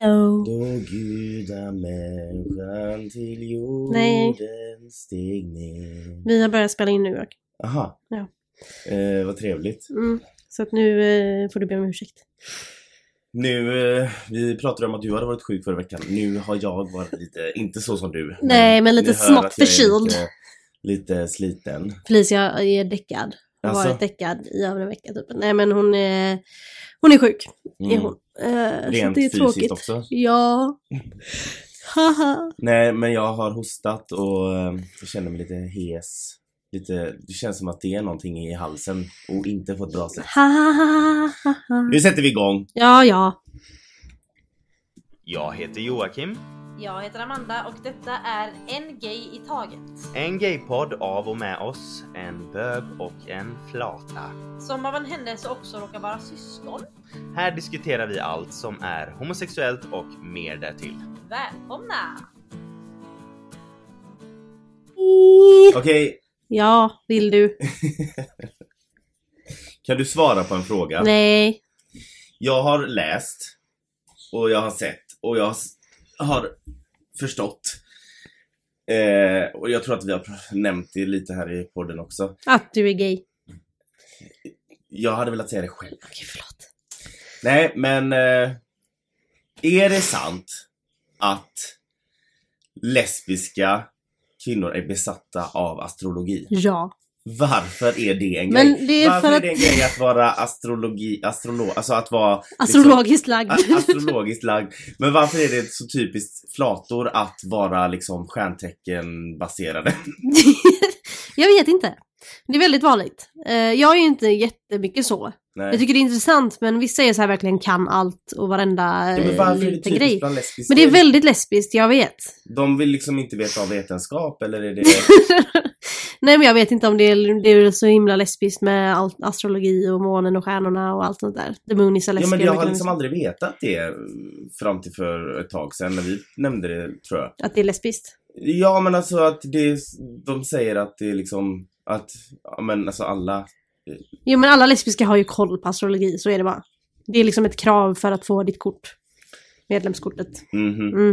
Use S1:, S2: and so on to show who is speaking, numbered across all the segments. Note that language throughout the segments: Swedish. S1: Oh.
S2: När gudamänniskan till jorden
S1: Nej.
S2: steg ner.
S1: Vi har börjat spela in nu och.
S2: Aha.
S1: Ja.
S2: Eh, vad trevligt.
S1: Mm. Så att nu eh, får du be om ursäkt.
S2: Nu, eh, vi pratade om att du hade varit sjuk förra veckan. Nu har jag varit lite, inte så som du.
S1: Nej, men lite
S2: ni hör
S1: smått
S2: att jag är
S1: förkyld.
S2: Lite, lite sliten.
S1: Felicia är däckad. Har
S2: Alltså?
S1: varit däckad i över en vecka typ. Nej men hon är, hon är sjuk. Är
S2: Mm.
S1: hon. Eh, så
S2: Rent
S1: det är
S2: fysiskt
S1: tråkigt.
S2: också.
S1: Ja. Haha.
S2: Nej, men jag har hostat och eh, jag känner mig lite hes. Lite, det känns som att det är någonting i halsen och inte på ett bra sätt.
S1: Hahaha.
S2: Nu sätter vi igång!
S1: Ja, ja.
S3: Jag heter Joakim,
S4: Jag heter Amanda och detta är En Gay i Taget.
S3: en gaypodd av och med oss, en bög och en flata.
S4: Som av en händelse också råkar vara syskon.
S3: Här diskuterar vi allt som är homosexuellt och mer därtill.
S4: Välkomna!
S2: Okej,
S1: Ja, vill du?
S2: kan du svara på en fråga?
S1: Nej.
S2: Jag har läst och jag har sett och jag s- har förstått. Eh, och jag tror att vi har pr- nämnt det lite här i podden också.
S1: Att du är gay.
S2: Jag hade velat säga det själv.
S1: Okej, förlåt.
S2: Nej, men eh, är det sant att lesbiska kvinnor är besatta av astrologi?
S1: Ja.
S2: Varför är det en
S1: Men
S2: grej?
S1: det är
S2: Varför
S1: för
S2: är
S1: att-
S2: det en grej att vara astrologi, astrolog, alltså att vara
S1: Astrologiskt lagd.
S2: A- astrologiskt lagd. Men varför är det så typiskt flator att vara liksom stjärnteckenbaserade?
S1: jag vet inte. Det är väldigt vanligt. Eh, Jag är ju inte jättemycket så.
S2: Nej.
S1: Jag tycker det är intressant men vissa är så här verkligen kan allt och varenda
S2: ja, men
S1: eh,
S2: varför är det
S1: liten
S2: typiskt
S1: grej.
S2: bland lesbiska?
S1: Men det är väldigt lesbiskt, jag vet.
S2: De vill liksom inte veta av vetenskap eller är det...
S1: Nej men jag vet inte om det är, det är så himla lesbiskt med allt, astrologi och månen och stjärnorna och allt sånt där. The moon is a
S2: ja
S1: lesbian.
S2: men jag har
S1: mycket
S2: liksom
S1: lesbisk.
S2: aldrig vetat det eh, fram till för ett tag sedan när vi nämnde det tror jag.
S1: Att det är lesbiskt.
S2: Ja men alltså att det, är- de säger att det är liksom att, ja men alltså alla
S1: Jo men alla lesbiska har ju koll på astrologi, så är det bara. Det är liksom ett krav för att få ditt kort. Medlemskortet.
S2: mhm.
S1: Mm.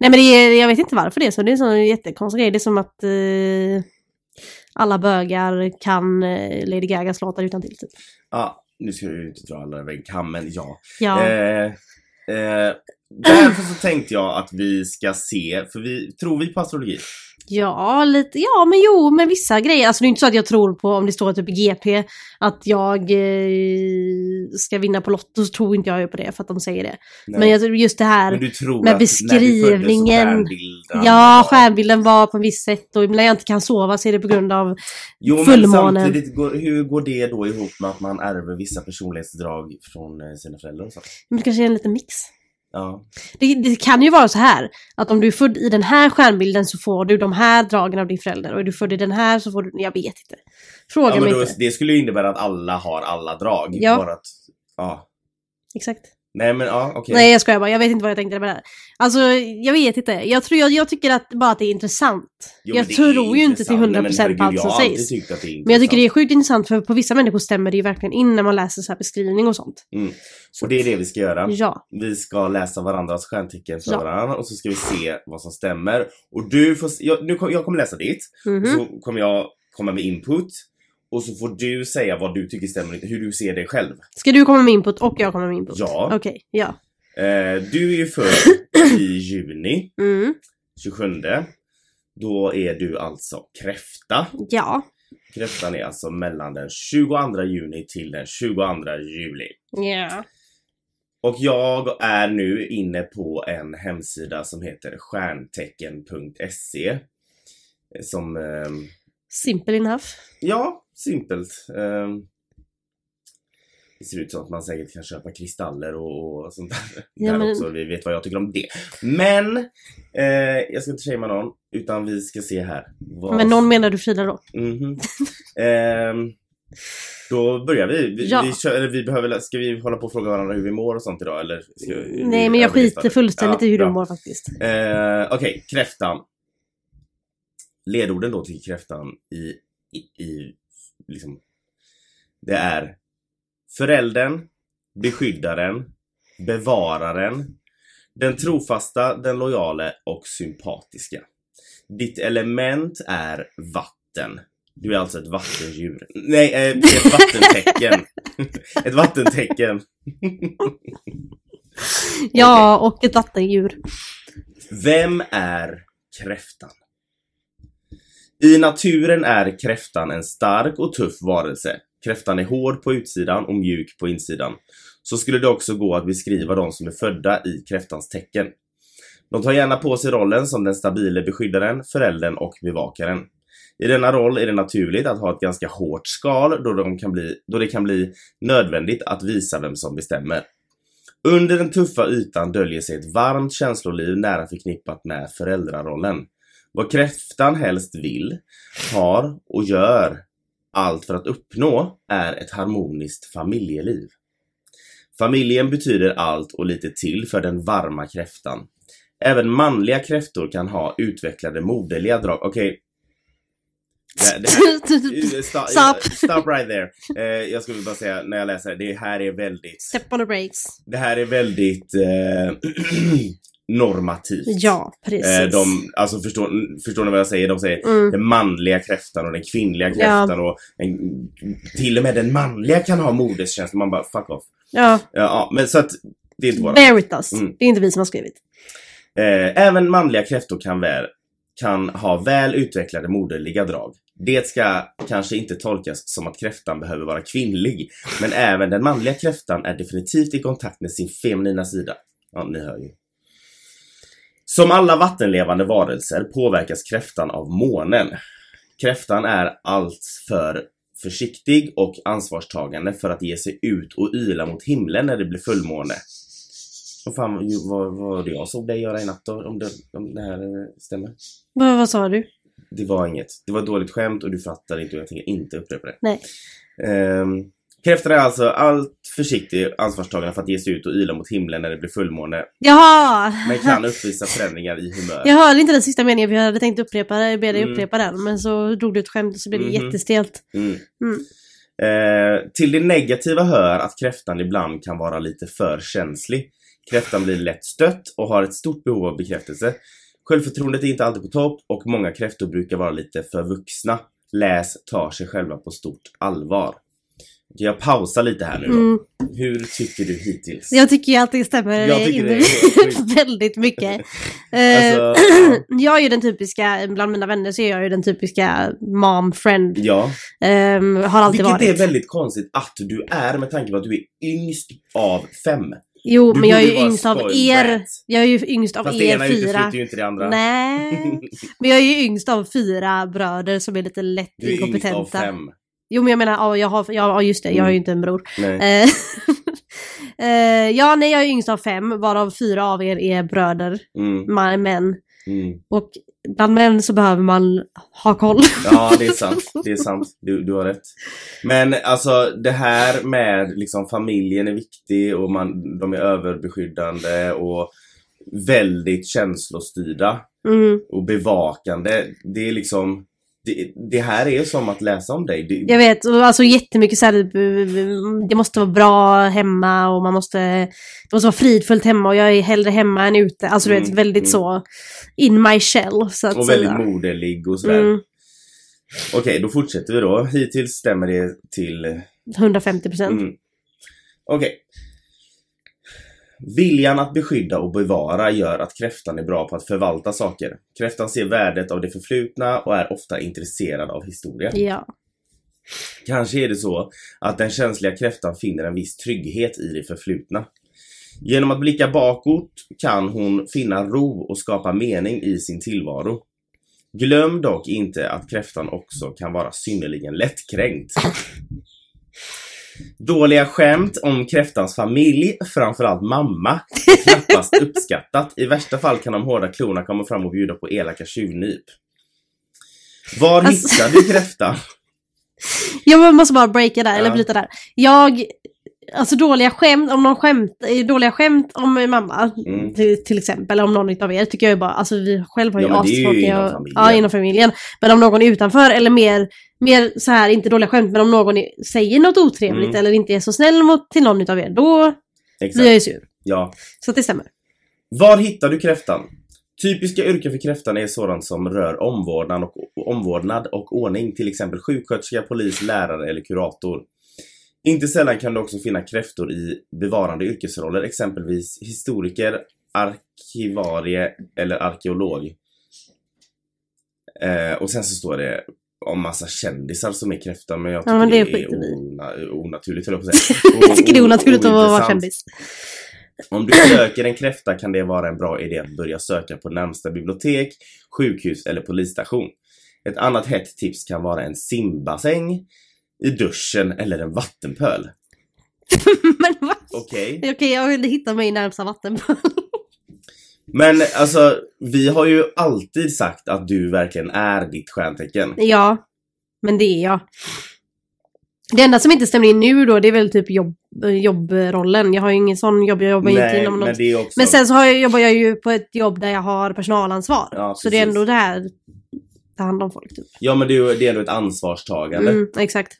S1: Nej men det är, jag vet inte varför det är så. Det är en sån jättekonstig grej. Det är som att eh, alla bögar kan eh, Lady Gagas låtar utan till typ.
S2: Ja, nu ska jag ju inte dra alla över en kam men ja.
S1: Ja.
S2: Eh, eh, därför så tänkte jag att vi ska se, för vi, tror vi på astrologi?
S1: ja, lite. Ja, men jo, men vissa grejer. Alltså det är inte så att jag tror på, om det står typ i GP, att jag eh, ska vinna på Lotto, så tror inte jag ju på det för att de säger det.
S2: Nej.
S1: Men jag, tror just det här.
S2: Men du tror
S1: med
S2: att när du föddes så
S1: beskrivningen.
S2: stjärnbilden
S1: Ja,
S2: var-
S1: stjärnbilden var på en viss sätt och ibland jag inte kan sova så är det på grund av...
S2: Jo, men
S1: fullmånen.
S2: samtidigt, går, hur går det då ihop med att man ärver vissa personlighetsdrag från eh, sina föräldrar och sånt?
S1: Men det kanske är en liten mix.
S2: Ja.
S1: Det, det kan ju vara så här att om du är född i den här stjärnbilden så får du de här dragen av din förälder och är du född i den här så får du... Jag vet inte. Fråga
S2: ja men
S1: mig
S2: då,
S1: inte.
S2: det skulle ju innebära att alla har alla drag.
S1: Ja.
S2: Bara att, ja.
S1: Exakt.
S2: Nej men ja, okej.
S1: Nej jag skojar bara, jag vet inte vad jag tänkte med det här. Alltså jag vet inte. Jag, tror, jag, jag tycker att, bara att det är intressant.
S2: Jo, men
S1: jag
S2: det är
S1: tror ju inte till
S2: intressant. Nej, men
S1: 100% på
S2: herregud,
S1: allt som
S2: jag har alltid
S1: sägs.
S2: tyckt att det är
S1: Men jag tycker det är
S2: intressant.
S1: sjukt intressant för på vissa människor stämmer det ju verkligen in när man läser så här beskrivning och sånt.
S2: Mm. Och det är det vi ska göra.
S1: Ja.
S2: Vi ska läsa varandras stjärntecken för
S1: Ja.
S2: varandra och så ska vi se vad som stämmer. Och du får, s- jag, nu, kom- jag kommer läsa ditt,
S1: Mhm.
S2: och så kommer jag komma med input. Och så får du säga vad du tycker stämmer, och inte, hur du ser dig själv.
S1: Ska du komma med input och jag kommer med input?
S2: Ja.
S1: Okej, ja.
S2: Eh, du är ju född i juni,
S1: Mm.
S2: 27. Då är du alltså kräfta.
S1: Ja.
S2: Kräftan är alltså mellan den 22 juni till den 22 juli.
S1: Ja.
S2: Och jag är nu inne på en hemsida som heter stjärntecken.se. eh, Som, ehm,
S1: Simple enough.
S2: ja, simpelt. ehm, det ser ut som att man säkert kan köpa kristaller och, och sånt där.
S1: Ja,
S2: där
S1: men-
S2: också, vi vet vad jag tycker om det. Men, eh, jag ska inte shamea någon, utan vi ska se här. vad-
S1: Men någon menar du Frida då?
S2: Mhm. Ehm, då börjar vi. Vi,
S1: Ja.
S2: vi, kör, eller vi behöver, lä- ska vi hålla på och fråga varandra hur vi mår och sånt idag eller? Ska, vi-
S1: Nej
S2: vi
S1: men jag
S2: överlistar
S1: skiter
S2: det?
S1: fullständigt i hur
S2: bra.
S1: du mår faktiskt.
S2: Eh, Okej, kräftan. Ledorden då till kräftan i, i, i liksom, det är föräldern, beskyddaren, bevararen, Den trofasta, den lojale och sympatiska. Ditt element är vatten. Du är alltså ett vattendjur. Nej, eh, ett vattentecken. ett vattentecken.
S1: Ja, och ett vattendjur.
S2: Vem är kräftan? I naturen är kräftan en stark och tuff varelse. Kräftan är hård på utsidan och mjuk på insidan. Så skulle det också gå att beskriva de som är födda i kräftans tecken. De tar gärna på sig rollen som den stabile beskyddaren, föräldern och bevakaren. I denna roll är det naturligt att ha ett ganska hårt skal då, de kan bli, då det kan bli nödvändigt att visa vem som bestämmer. Under den tuffa ytan döljer sig ett varmt känsloliv nära förknippat med föräldrarollen. Vad kräftan helst vill, har och gör allt för att uppnå är ett harmoniskt familjeliv. Familjen betyder allt och lite till för den varma kräftan. Även manliga kräftor kan ha utvecklade moderliga drag. Okej. Det- det här-
S1: Typ.
S2: Stop,
S1: Stop.
S2: stop right there. Eh, jag skulle bara säga när jag läser det här är väldigt
S1: Step on the brakes.
S2: det här är väldigt eh, normativt.
S1: Ja, precis.
S2: Eh, de, alltså förstår, förstår ni vad jag säger? De säger
S1: Mm.
S2: den manliga kräftan och den kvinnliga kräftan och en, till och med den manliga kan ha moderskänslor. Man bara fuck off.
S1: Ja,
S2: Ja, ja, men så att det är inte våra.
S1: bear with us.
S2: Mm.
S1: Det är inte vi som har skrivit.
S2: Eh, även manliga kräftor kan, väl, kan ha väl utvecklade moderliga drag. Det ska kanske inte tolkas som att kräftan behöver vara kvinnlig, men även den manliga kräftan är definitivt i kontakt med sin feminina sida. Ja, ni hör ju. Som alla vattenlevande varelser påverkas kräftan av månen. Kräftan är alltför försiktig och ansvarstagande för att ge sig ut och yla mot himlen när det blir fullmåne. Vad fan ju- vad vad var det jag såg dig göra i natt då? Om det, om det här eh, stämmer?
S1: Vad, vad sa du?
S2: Det var inget. Det var ett dåligt skämt och du fattar inte och jag tänker inte upprepa det.
S1: Nej.
S2: Ehm, kräftan är alltså allt försiktig och ansvarstagande för att ge sig ut och yla mot himlen när det blir fullmåne.
S1: Jaha!
S2: Men kan uppvisa förändringar i humör.
S1: Jag hörde inte den sista meningen för jag hade tänkt upprepa det, jag ber dig
S2: Mm.
S1: upprepa den. Men så drog du ett skämt och så blev det
S2: Mhm.
S1: jättestelt.
S2: Mm.
S1: Mm.
S2: Eh, till det negativa hör att kräftan ibland kan vara lite för känslig. Kräftan blir lätt stött och har ett stort behov av bekräftelse. Självförtroendet är inte alltid på topp och många kräftor brukar vara lite för vuxna. Läs tar sig själva på stort allvar. Okej, Jag pausar lite här nu då.
S1: Mm.
S2: Hur tycker du hittills?
S1: Jag tycker ju att det stämmer
S2: Jag tycker
S1: in
S2: det är helt sjukt.
S1: väldigt mycket. Eh,
S2: Alltså,
S1: jag är ju den typiska, bland mina vänner så är jag ju den typiska mom friend.
S2: ja.
S1: Ehm, har alltid
S2: Vilket
S1: varit.
S2: är väldigt konstigt att du är med tanke på att du är yngst av fem.
S1: Jo,
S2: Du
S1: men jag är
S2: borde
S1: ju
S2: vara
S1: yngst av
S2: spoiled
S1: er.
S2: brat.
S1: Jag är ju yngst av
S2: Fast det
S1: er
S2: ena
S1: fyra.
S2: utesluter ju inte det andra.
S1: Nej, men jag är ju yngst av fyra bröder som är lite lätt
S2: Du är yngst av
S1: inkompetenta.
S2: fem. Mm.
S1: Jo men jag menar, ja, jag har, ja ja, just det, jag har ju inte en bror.
S2: Nej.
S1: Eh, eh, ja nej jag är yngst av fem, varav fyra av er är bröder,
S2: Mm,
S1: ma- män.
S2: mm.
S1: Och bland män så behöver man ha koll.
S2: Ja, det är sant. Det är sant. Du, du har rätt. Men alltså det här med liksom familjen är viktig och man, de är överbeskyddande och väldigt känslostyrda
S1: Mm.
S2: och bevakande. Det är liksom det, det här är som att läsa om dig. Det,
S1: Jag vet, och alltså jättemycket så här, eh, det måste vara bra hemma och man måste, det måste vara fridfullt hemma och jag är hellre hemma än ute. Alltså du
S2: Mm,
S1: vet, väldigt
S2: mm.
S1: så in my shell så att
S2: och
S1: säga.
S2: väldigt moderlig och sådär.
S1: Mm,
S2: Okej, då fortsätter vi då. Hittills stämmer det till
S1: 150 procent.
S2: Mm. Okej. Viljan att beskydda och bevara gör att kräftan är bra på att förvalta saker. Kräftan ser värdet av det förflutna och är ofta intresserad av historia.
S1: Ja.
S2: Kanske är det så att den känsliga kräftan finner en viss trygghet i det förflutna. Genom att blicka bakåt kan hon finna ro och skapa mening i sin tillvaro. Glöm dock inte att kräftan också kan vara synnerligen lättkränkt. Dåliga skämt om kräftans familj, framförallt mamma, är knappast uppskattat. I värsta fall kan de hårda klorna komma fram och bjuda på elaka tjuvnyp. Var
S1: Alltså-
S2: hittar du kräftan?
S1: Jag måste bara breaka där, eller
S2: Ja.
S1: bryta där. Jag, alltså dåliga skämt, om någon skämt, eh, dåliga skämt om min mamma,
S2: Mm.
S1: till, till exempel, om någon utav er, tycker jag ju bara, alltså vi själv har ju
S2: Ja, men det är ju
S1: astråkiga-
S2: inom familjen.
S1: Ja, inom familjen. Men om någon är utanför, eller mer, mer så här, inte dåliga skämt, men om någon är, säger något otrevligt
S2: Mm.
S1: eller inte är så snäll mot, till någon utav er, då
S2: Exakt.
S1: blir jag ju sur.
S2: Ja,
S1: Så att det stämmer.
S2: Var hittar du kräftan? Typiska yrken för kräftan är sådant som rör omvårdnad och, omvårdnad och ordning, till exempel sjuksköterska, polis, lärare eller kurator. Inte sällan kan du också finna kräftor i bevarande yrkesroller, exempelvis historiker, arkivarie eller arkeolog. Eh, och sen så står det om massa kändisar som är kräfta men jag tycker
S1: men
S2: det,
S1: det skiter vi
S2: är
S1: i.
S2: ona, onaturligt höll jag på att säga.
S1: Jag tycker det är onaturligt att vara
S2: ointressant.
S1: kändis.
S2: Om du söker en kräfta kan det vara en bra idé att börja söka på närmsta bibliotek, sjukhus eller polisstation. Ett annat hett tips kan vara en simbassäng, i duschen eller en vattenpöl.
S1: Men vad?
S2: Okej.
S1: Okej, jag vill hitta mig i närmsta vattenpöl.
S2: Men alltså, vi har ju alltid sagt att du verkligen är ditt stjärntecken.
S1: Ja, men det är jag. Det enda som inte stämmer in nu då, det är väl typ jobb, jobbrollen. Jag har ju ingen sån jobb, jag jobbar ju inte
S2: Nej,
S1: inom något.
S2: men det är också...
S1: Men sen så har jag, jobbar jag ju på ett jobb där jag har personalansvar.
S2: Ja,
S1: så det är
S2: precis.
S1: ändå det här, ta hand om folk typ.
S2: Ja men det är ju det är ändå ett ansvarstagande.
S1: Mm, exakt.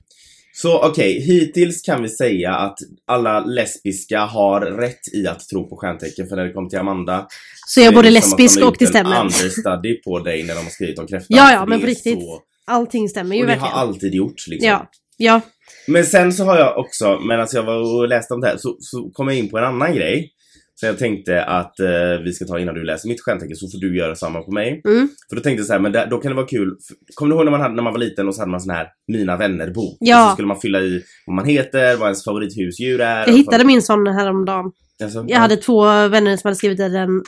S2: Så okej, hittills kan vi säga att alla lesbiska har rätt i att tro på stjärntecken för när det kommer till Amanda
S1: Så jag är
S2: Det
S1: både
S2: ju som att de
S1: lesbisk
S2: har
S1: och det
S2: gjort en
S1: stämmer.
S2: understudy på dig när de har skrivit om kräftan.
S1: Ja, ja,
S2: För
S1: men
S2: det
S1: på
S2: är
S1: riktigt.
S2: Så...
S1: Allting stämmer ju
S2: Och det har
S1: verkligen.
S2: alltid gjorts liksom.
S1: Ja. Ja,
S2: Men sen så har jag också, medan jag var och läste om det här, så, så kom jag in på en annan grej. Så jag tänkte att eh, vi ska ta innan du läser mitt stjärntecken så får du göra samma på mig.
S1: Mm.
S2: För då tänkte jag så här, men där, då kan det vara kul. För- Kommer du ihåg när man, hade, när man var liten och så hade man sån här Mina vänner-bok?
S1: Ja.
S2: Och så skulle man fylla i vad man heter, vad ens favorithusdjur är.
S1: jag hittade min sån häromdagen.
S2: Alltså,
S1: Jag hade två vänner som hade skrivit i den.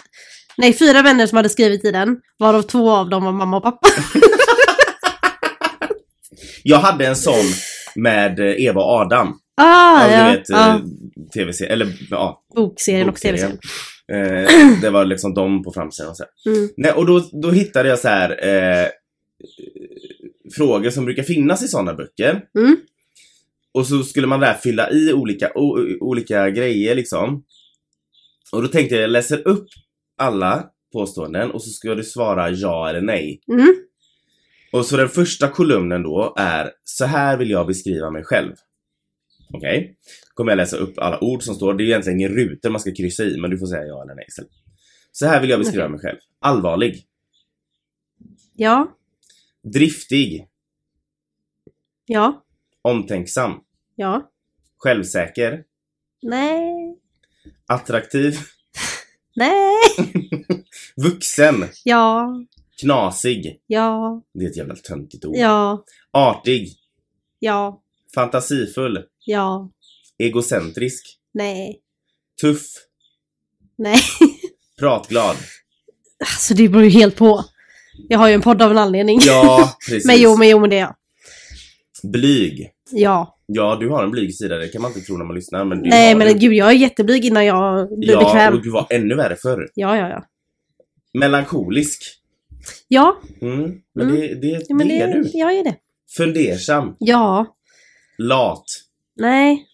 S1: Nej, fyra vänner som hade skrivit i den. Varav två av dem var mamma och pappa.
S2: jag hade en sån med eh, Eva och Adam.
S1: Ah,
S2: ja,
S1: ja.
S2: du vet, eh,
S1: ja.
S2: tv-serien, eller ja,
S1: Bokserien och
S2: bokserien.
S1: tv-serien.
S2: Eh, det var liksom dem på framsidan och så. här.
S1: Mm.
S2: Nej, och då, då hittade jag så här eh, frågor som brukar finnas i sådana böcker.
S1: Mm.
S2: Och så skulle man där fylla i olika, o, olika grejer liksom. Och då tänkte jag, jag läser upp alla påståenden och så ska du svara ja eller nej.
S1: Mm.
S2: Och så den första kolumnen då är, så här vill jag beskriva mig själv. Okej? Då kommer jag läsa upp alla ord som står. Det är ju egentligen ingen rutor man ska kryssa i, men du får säga ja eller nej istället. Så här vill jag beskriva mig själv. Allvarlig.
S1: Ja,
S2: Driftig.
S1: ja,
S2: Omtänksam.
S1: ja.
S2: Självsäker.
S1: Nej,
S2: Attraktiv.
S1: nej,
S2: Vuxen.
S1: ja,
S2: Knasig.
S1: ja,
S2: Det är ett jävla töntigt ord.
S1: ja,
S2: Artig.
S1: ja,
S2: Fantasifull.
S1: ja,
S2: Egocentrisk.
S1: nej,
S2: Tuff.
S1: nej.
S2: Pratglad.
S1: Alltså det beror ju helt på. Jag har ju en podd av en anledning.
S2: Ja, precis.
S1: men jo, men jo, men det är jag.
S2: Blyg.
S1: Ja.
S2: Ja, du har en blyg sida. Det kan man inte tro när man lyssnar. Men du
S1: nej,
S2: har
S1: men
S2: en-
S1: gud, jag är jätteblyg innan jag blir
S2: Ja,
S1: bekväm.
S2: och du var ännu värre förr.
S1: Ja, ja, ja.
S2: Melankolisk.
S1: Ja,
S2: Mm, men
S1: Mm.
S2: det, det,
S1: ja men
S2: det är du.
S1: Jag är det.
S2: Fundersam.
S1: Ja,
S2: Lat.
S1: nej,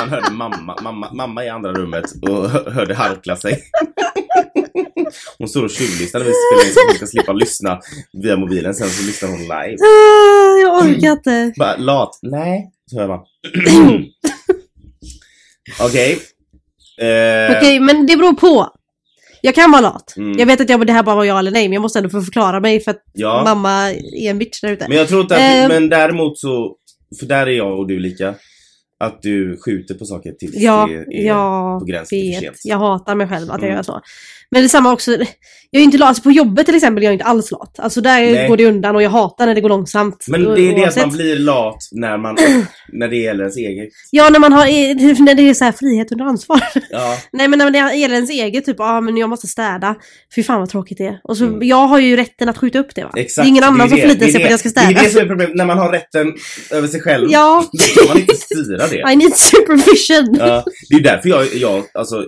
S2: Han hörde mamma, mamma, mamma i andra rummet och hö- hörde harkla sig. Hon står och tjuvlyssnar när vi spelar in så hon ska slippa lyssna via mobilen sen så lyssnar hon live.
S1: Ah, jag
S2: Mm.
S1: orkar inte.
S2: Bara lat. Nej. Så hör man. Okej. Eh,
S1: Okej, men det beror på. Jag kan vara lat.
S2: Mm.
S1: Jag vet att jag, det här bara var ja eller nej, men jag måste ändå få förklara mig för att
S2: Ja.
S1: mamma är en bitch där ute.
S2: Men jag tror inte att,
S1: Eh.
S2: men däremot så, för där är jag och du lika. Att du skjuter på saker tills
S1: Ja,
S2: det är på
S1: jag
S2: gränsen till för sent.
S1: vet. Jag hatar mig själv att jag
S2: Mm.
S1: gör så. Men det är samma också, jag är ju inte lat. Alltså på jobbet till exempel, jag är inte alls lat. Alltså där
S2: Nej.
S1: går det undan och jag hatar när det går långsamt.
S2: Men det är det att
S1: Oavsett.
S2: man blir lat när man, när det gäller ens eget.
S1: Ja, när man har, när det är så här frihet under ansvar.
S2: Ja.
S1: Nej men när det gäller ens eget, typ, ja ah, men jag måste städa. Fy fan vad tråkigt det är. Och så,
S2: Mm.
S1: jag har ju rätten att skjuta upp det va?
S2: Exakt,
S1: det är ingen
S2: ju
S1: annan som
S2: det,
S1: förlitar
S2: det är
S1: sig på
S2: det.
S1: att jag ska städa.
S2: Det är det som är problemet, när man har rätten över sig själv.
S1: Ja,
S2: Då kan man inte styra det.
S1: I need supervision.
S2: Ja, det är därför jag, jag alltså,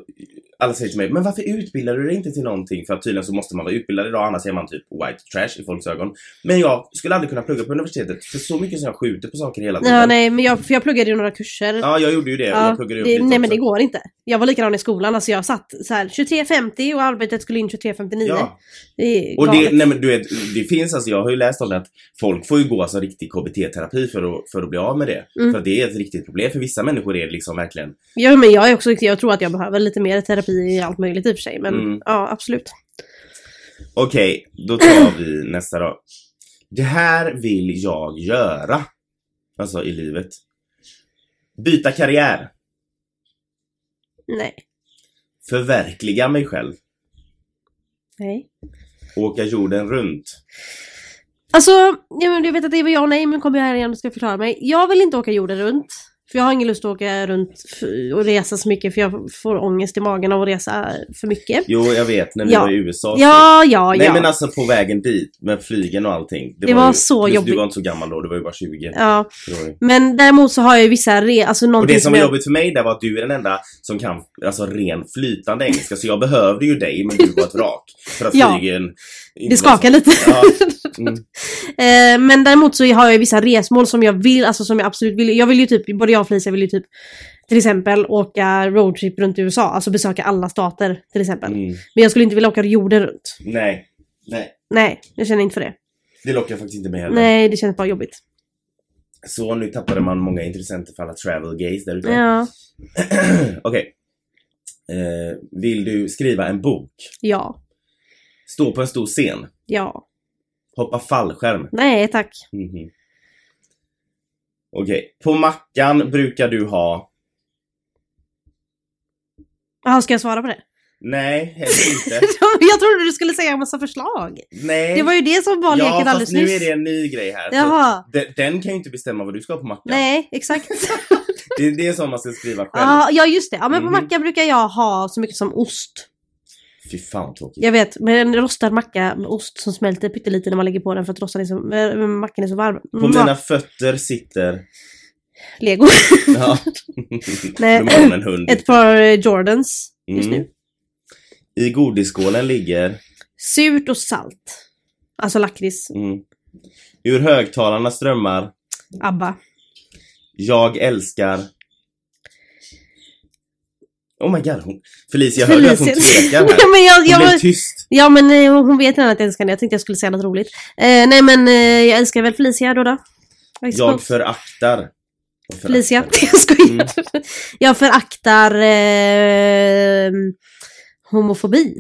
S2: alla säger till mig, men varför utbildar du dig inte till någonting? För att tydligen så måste man vara utbildad idag, annars är man typ white trash i folks ögon. Men jag skulle aldrig kunna plugga på universitetet, för så mycket som jag skjuter på saker hela tiden.
S1: Ja, nej, men jag, för jag pluggade ju några kurser.
S2: Ja, jag gjorde ju det.
S1: Ja,
S2: jag pluggade upp
S1: det,
S2: lite
S1: nej men
S2: också.
S1: det går inte. Jag var likadan i skolan, alltså jag satt så här 23.50 och arbetet skulle in 23.59.
S2: Ja,
S1: Det är
S2: och det,
S1: galet.
S2: nej men du vet, det finns alltså, jag har ju läst om det att folk får ju gå alltså riktig KBT-terapi för att, för att bli av med det.
S1: Mm.
S2: För att det är ett riktigt problem, för vissa människor är det liksom verkligen,
S1: Ja, men jag, är också, jag tror att jag behöver lite mer terapi i allt möjligt i och för sig. Men
S2: Mm.
S1: ja, absolut.
S2: okej, då tar vi nästa då. Det här vill jag göra. Alltså i livet. Byta karriär.
S1: Nej.
S2: Förverkliga mig själv.
S1: nej.
S2: Åka jorden runt.
S1: Alltså, ja, men jag vet att det är ja och nej, men kom jag här igen och ska förklara mig. Jag vill inte åka jorden runt. För jag har ingen lust att åka runt f- och resa så mycket för jag får ångest i magen av att resa för mycket.
S2: Jo, jag vet, när vi
S1: Ja.
S2: var i USA. så-
S1: Ja, ja,
S2: Nej
S1: ja.
S2: men alltså på vägen dit med flygen och allting.
S1: Det var
S2: ju,
S1: så
S2: plus, Du
S1: jobbigt.
S2: var inte så gammal då, du var ju bara 20.
S1: ja.
S2: tror jag.
S1: Men däremot så har jag ju vissa re- alltså
S2: Och
S1: någonting
S2: det som var
S1: jag...
S2: jobbigt för mig där var att du är den enda som kan alltså ren flytande engelska så jag behövde ju dig men du var ett vrak. För att
S1: Ja.
S2: flygen...
S1: Det skakar lite.
S2: Ja. Mm.
S1: Eh, Men däremot så har jag ju vissa resmål som jag vill, alltså som jag absolut vill. Jag vill ju typ, både jag och Felicia vill ju typ till exempel åka roadtrip runt i USA, alltså besöka alla stater till exempel.
S2: Mm.
S1: Men jag skulle inte vilja åka jorden runt.
S2: Nej. Nej.
S1: Nej, jag känner inte för det.
S2: Det lockar faktiskt inte mig heller.
S1: Nej, det känns bara jobbigt.
S2: Så nu tappade man många intressenter för alla travel gays där ute.
S1: Ja.
S2: Okej. Eh, vill du skriva en bok?
S1: Ja.
S2: Stå på en stor scen?
S1: Ja.
S2: Hoppa fallskärm?
S1: Nej, tack.
S2: Mhm. Okej. På mackan brukar du ha...
S1: Jaha, ska jag svara på det?
S2: Nej, helst inte.
S1: jag trodde du skulle säga en massa förslag.
S2: Nej.
S1: Det var ju det som var
S2: ja,
S1: leken
S2: fast
S1: alldeles
S2: nu
S1: nyss.
S2: är det en ny grej här. Så
S1: Jaha.
S2: de- den kan ju inte bestämma vad du ska ha på mackan.
S1: Nej, exakt.
S2: Det, det är sånt man ska skriva själv.
S1: Ja, ja just det. Ja, men på
S2: Mhm.
S1: macka brukar jag ha så mycket som ost.
S2: Fy fan vad tråkigt.
S1: Jag vet, men en rostad macka med ost som smälter pyttelite när man lägger på den för att rostan är så, eh, mackan är så varm.
S2: På
S1: Mm,
S2: mina fötter sitter...
S1: Lego.
S2: Ja.
S1: Nej.
S2: Nu har man en hund.
S1: Ett par eh, Jordans just
S2: Mm.
S1: nu.
S2: I godisskålen ligger...
S1: Surt och salt. Alltså lakrits.
S2: Mm. Ur högtalarna strömmar...
S1: ABBA.
S2: Jag älskar... Oh my god, hon... Felicia, hörde du att hon
S1: Felicia.
S2: tvekar här?
S1: ja, men jag,
S2: Hon typ- blev
S1: jag,
S2: tyst.
S1: ja men eh, hon vet redan att jag älskar henne. Jag tänkte jag skulle säga något roligt. Eh, nej men eh, jag älskar väl Felicia då då. I
S2: Jag
S1: suppose.
S2: föraktar... Jag föraktar.
S1: Felicia. Jag skojar.
S2: Mm.
S1: Jag föraktar eh, homofobi.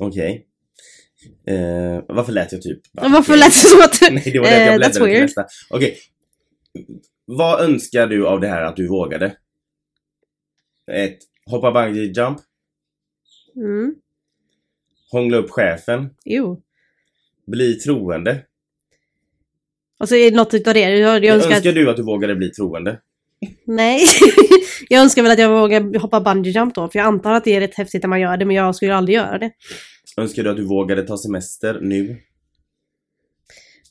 S2: Okej. Eh, varför lät jag typ...
S1: Varför lät det som att...
S2: Nej, det var det att
S1: Eh,
S2: jag
S1: that's
S2: bläddrade till
S1: weird.
S2: nästa. Okej. Vad önskar du av det här att du vågade? Ett, Hoppa bungee jump.
S1: Mm.
S2: Hångla upp chefen.
S1: Jo.
S2: Bli troende.
S1: Och så Alltså, är det något utav det. Jag, jag önskar...
S2: önskar du att du vågade bli troende?
S1: Nej. jag önskar väl att jag vågar hoppa bungee jump då. För jag antar att det är rätt häftigt när man gör det. Men jag skulle aldrig göra det.
S2: Önskar du att du vågade ta semester nu?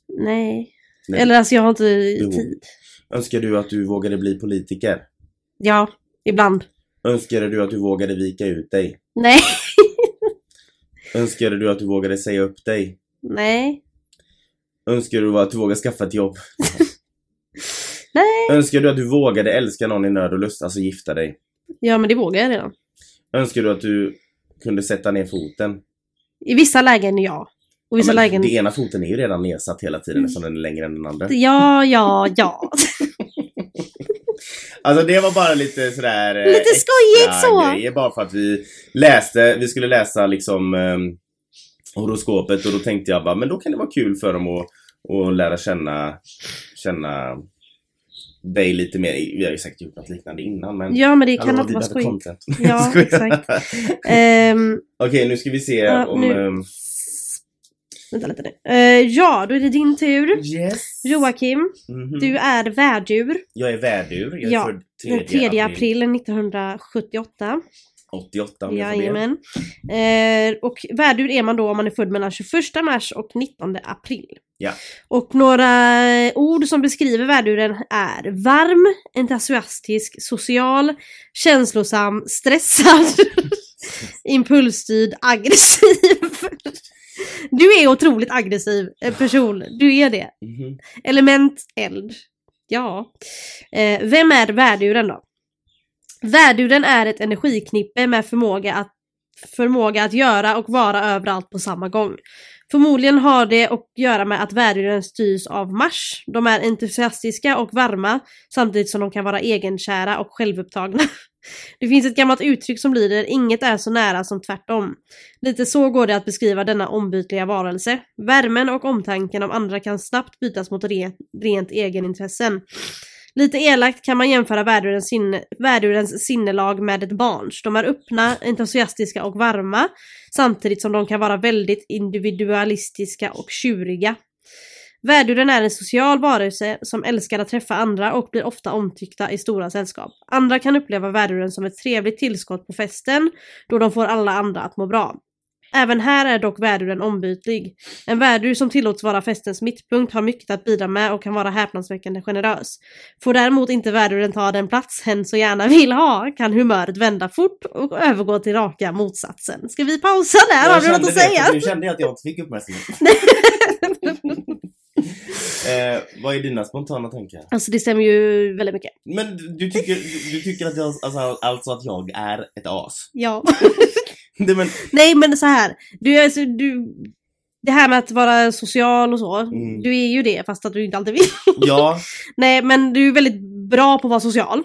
S1: Nej.
S2: Nej.
S1: Eller alltså jag har inte
S2: Jo.
S1: tid.
S2: Önskar du att du vågade bli politiker?
S1: Ja, ibland.
S2: Önskade du att du vågade vika ut dig?
S1: Nej.
S2: Önskade du att du vågade säga upp dig?
S1: Nej.
S2: Önskar du att du vågade skaffa ett jobb?
S1: Nej.
S2: Önskar du att du vågade älska någon i nöd och lust, alltså gifta dig?
S1: Ja, men det vågar jag redan.
S2: Önskar du att du kunde sätta ner foten?
S1: I vissa lägen, ja. Och i vissa
S2: Ja, men
S1: lägen... Mm.
S2: Den ena foten är ju redan nedsatt hela tiden eftersom den är längre än den andra.
S1: Ja, ja, ja.
S2: Alltså det var bara lite sådär... eh,
S1: Lite
S2: extra
S1: skojigt så.
S2: Grejer, bara för att vi läste, vi skulle läsa liksom ehm, horoskopet och då tänkte jag bara, men då kan det vara kul för dem att, att lära känna, känna dig lite mer. Vi har ju säkert gjort något liknande innan men...
S1: Ja, men det
S2: Hallå,
S1: kan inte
S2: vi
S1: vara
S2: behöver
S1: skoj.
S2: content.
S1: Ja,
S2: Skojar.
S1: exakt. Ehm,
S2: Okej, nu ska vi se
S1: Ja,
S2: om...
S1: nu.
S2: ehm,
S1: vänta lite nu. Eh, ja, då är det din tur.
S2: Yes!
S1: Joakim,
S2: Mhm.
S1: du är värddjur.
S2: Jag är värdur. Jag är
S1: Ja,
S2: född
S1: Den 3 april 1978.
S2: 88 om jag får be.
S1: Jajamän. Eh, och värdur är man då om man är född mellan 21 mars och 19 april.
S2: Ja.
S1: Och några ord som beskriver värduren är varm, entusiastisk, social, känslosam, stressad, impulsstyrd, aggressiv. Du är otroligt aggressiv eh, person, du är det.
S2: Mhm.
S1: Element eld. Ja. Eh, vem är värduren då? Värduren är ett energiknippe med förmåga att, förmåga att göra och vara överallt på samma gång. Förmodligen har det att göra med att värduren styrs av Mars. De är entusiastiska och varma samtidigt som de kan vara egenkära och självupptagna. Det finns ett gammalt uttryck som lyder “inget är så nära som tvärtom”. Lite så går det att beskriva denna ombytliga varelse. Värmen och omtanken om andra kan snabbt bytas mot re, rent egenintressen. Lite elakt kan man jämföra värdurens, sinne, värdurens sinnelag med ett barns. De är öppna, entusiastiska och varma, samtidigt som de kan vara väldigt individualistiska och tjuriga. Värduren är en social varelse som älskar att träffa andra och blir ofta omtyckta i stora sällskap. Andra kan uppleva värduren som ett trevligt tillskott på festen, då de får alla andra att må bra. Även här är dock värduren ombytlig. En värdur som tillåts vara festens mittpunkt har mycket att bidra med och kan vara häpnadsväckande generös. Får däremot inte värduren ta den plats hen så gärna vill ha kan humöret vända fort och övergå till raka motsatsen. Ska vi pausa där? Har
S2: Jag
S1: du något
S2: kände
S1: att
S2: det,
S1: säga?
S2: för Nu kände jag att jag inte fick uppmärksamhet. eh, vad är dina spontana tankar?
S1: Alltså det stämmer ju väldigt mycket.
S2: Men du- du tycker, du, du tycker att jag, alltså, alltså att jag är ett as?
S1: Ja.
S2: Det, men,
S1: Nej men så här. Du, är- alltså, du, det här med att vara social och så.
S2: Mm.
S1: Du är ju det fast att du inte alltid vill.
S2: ja,
S1: Nej men du är väldigt bra på att vara social.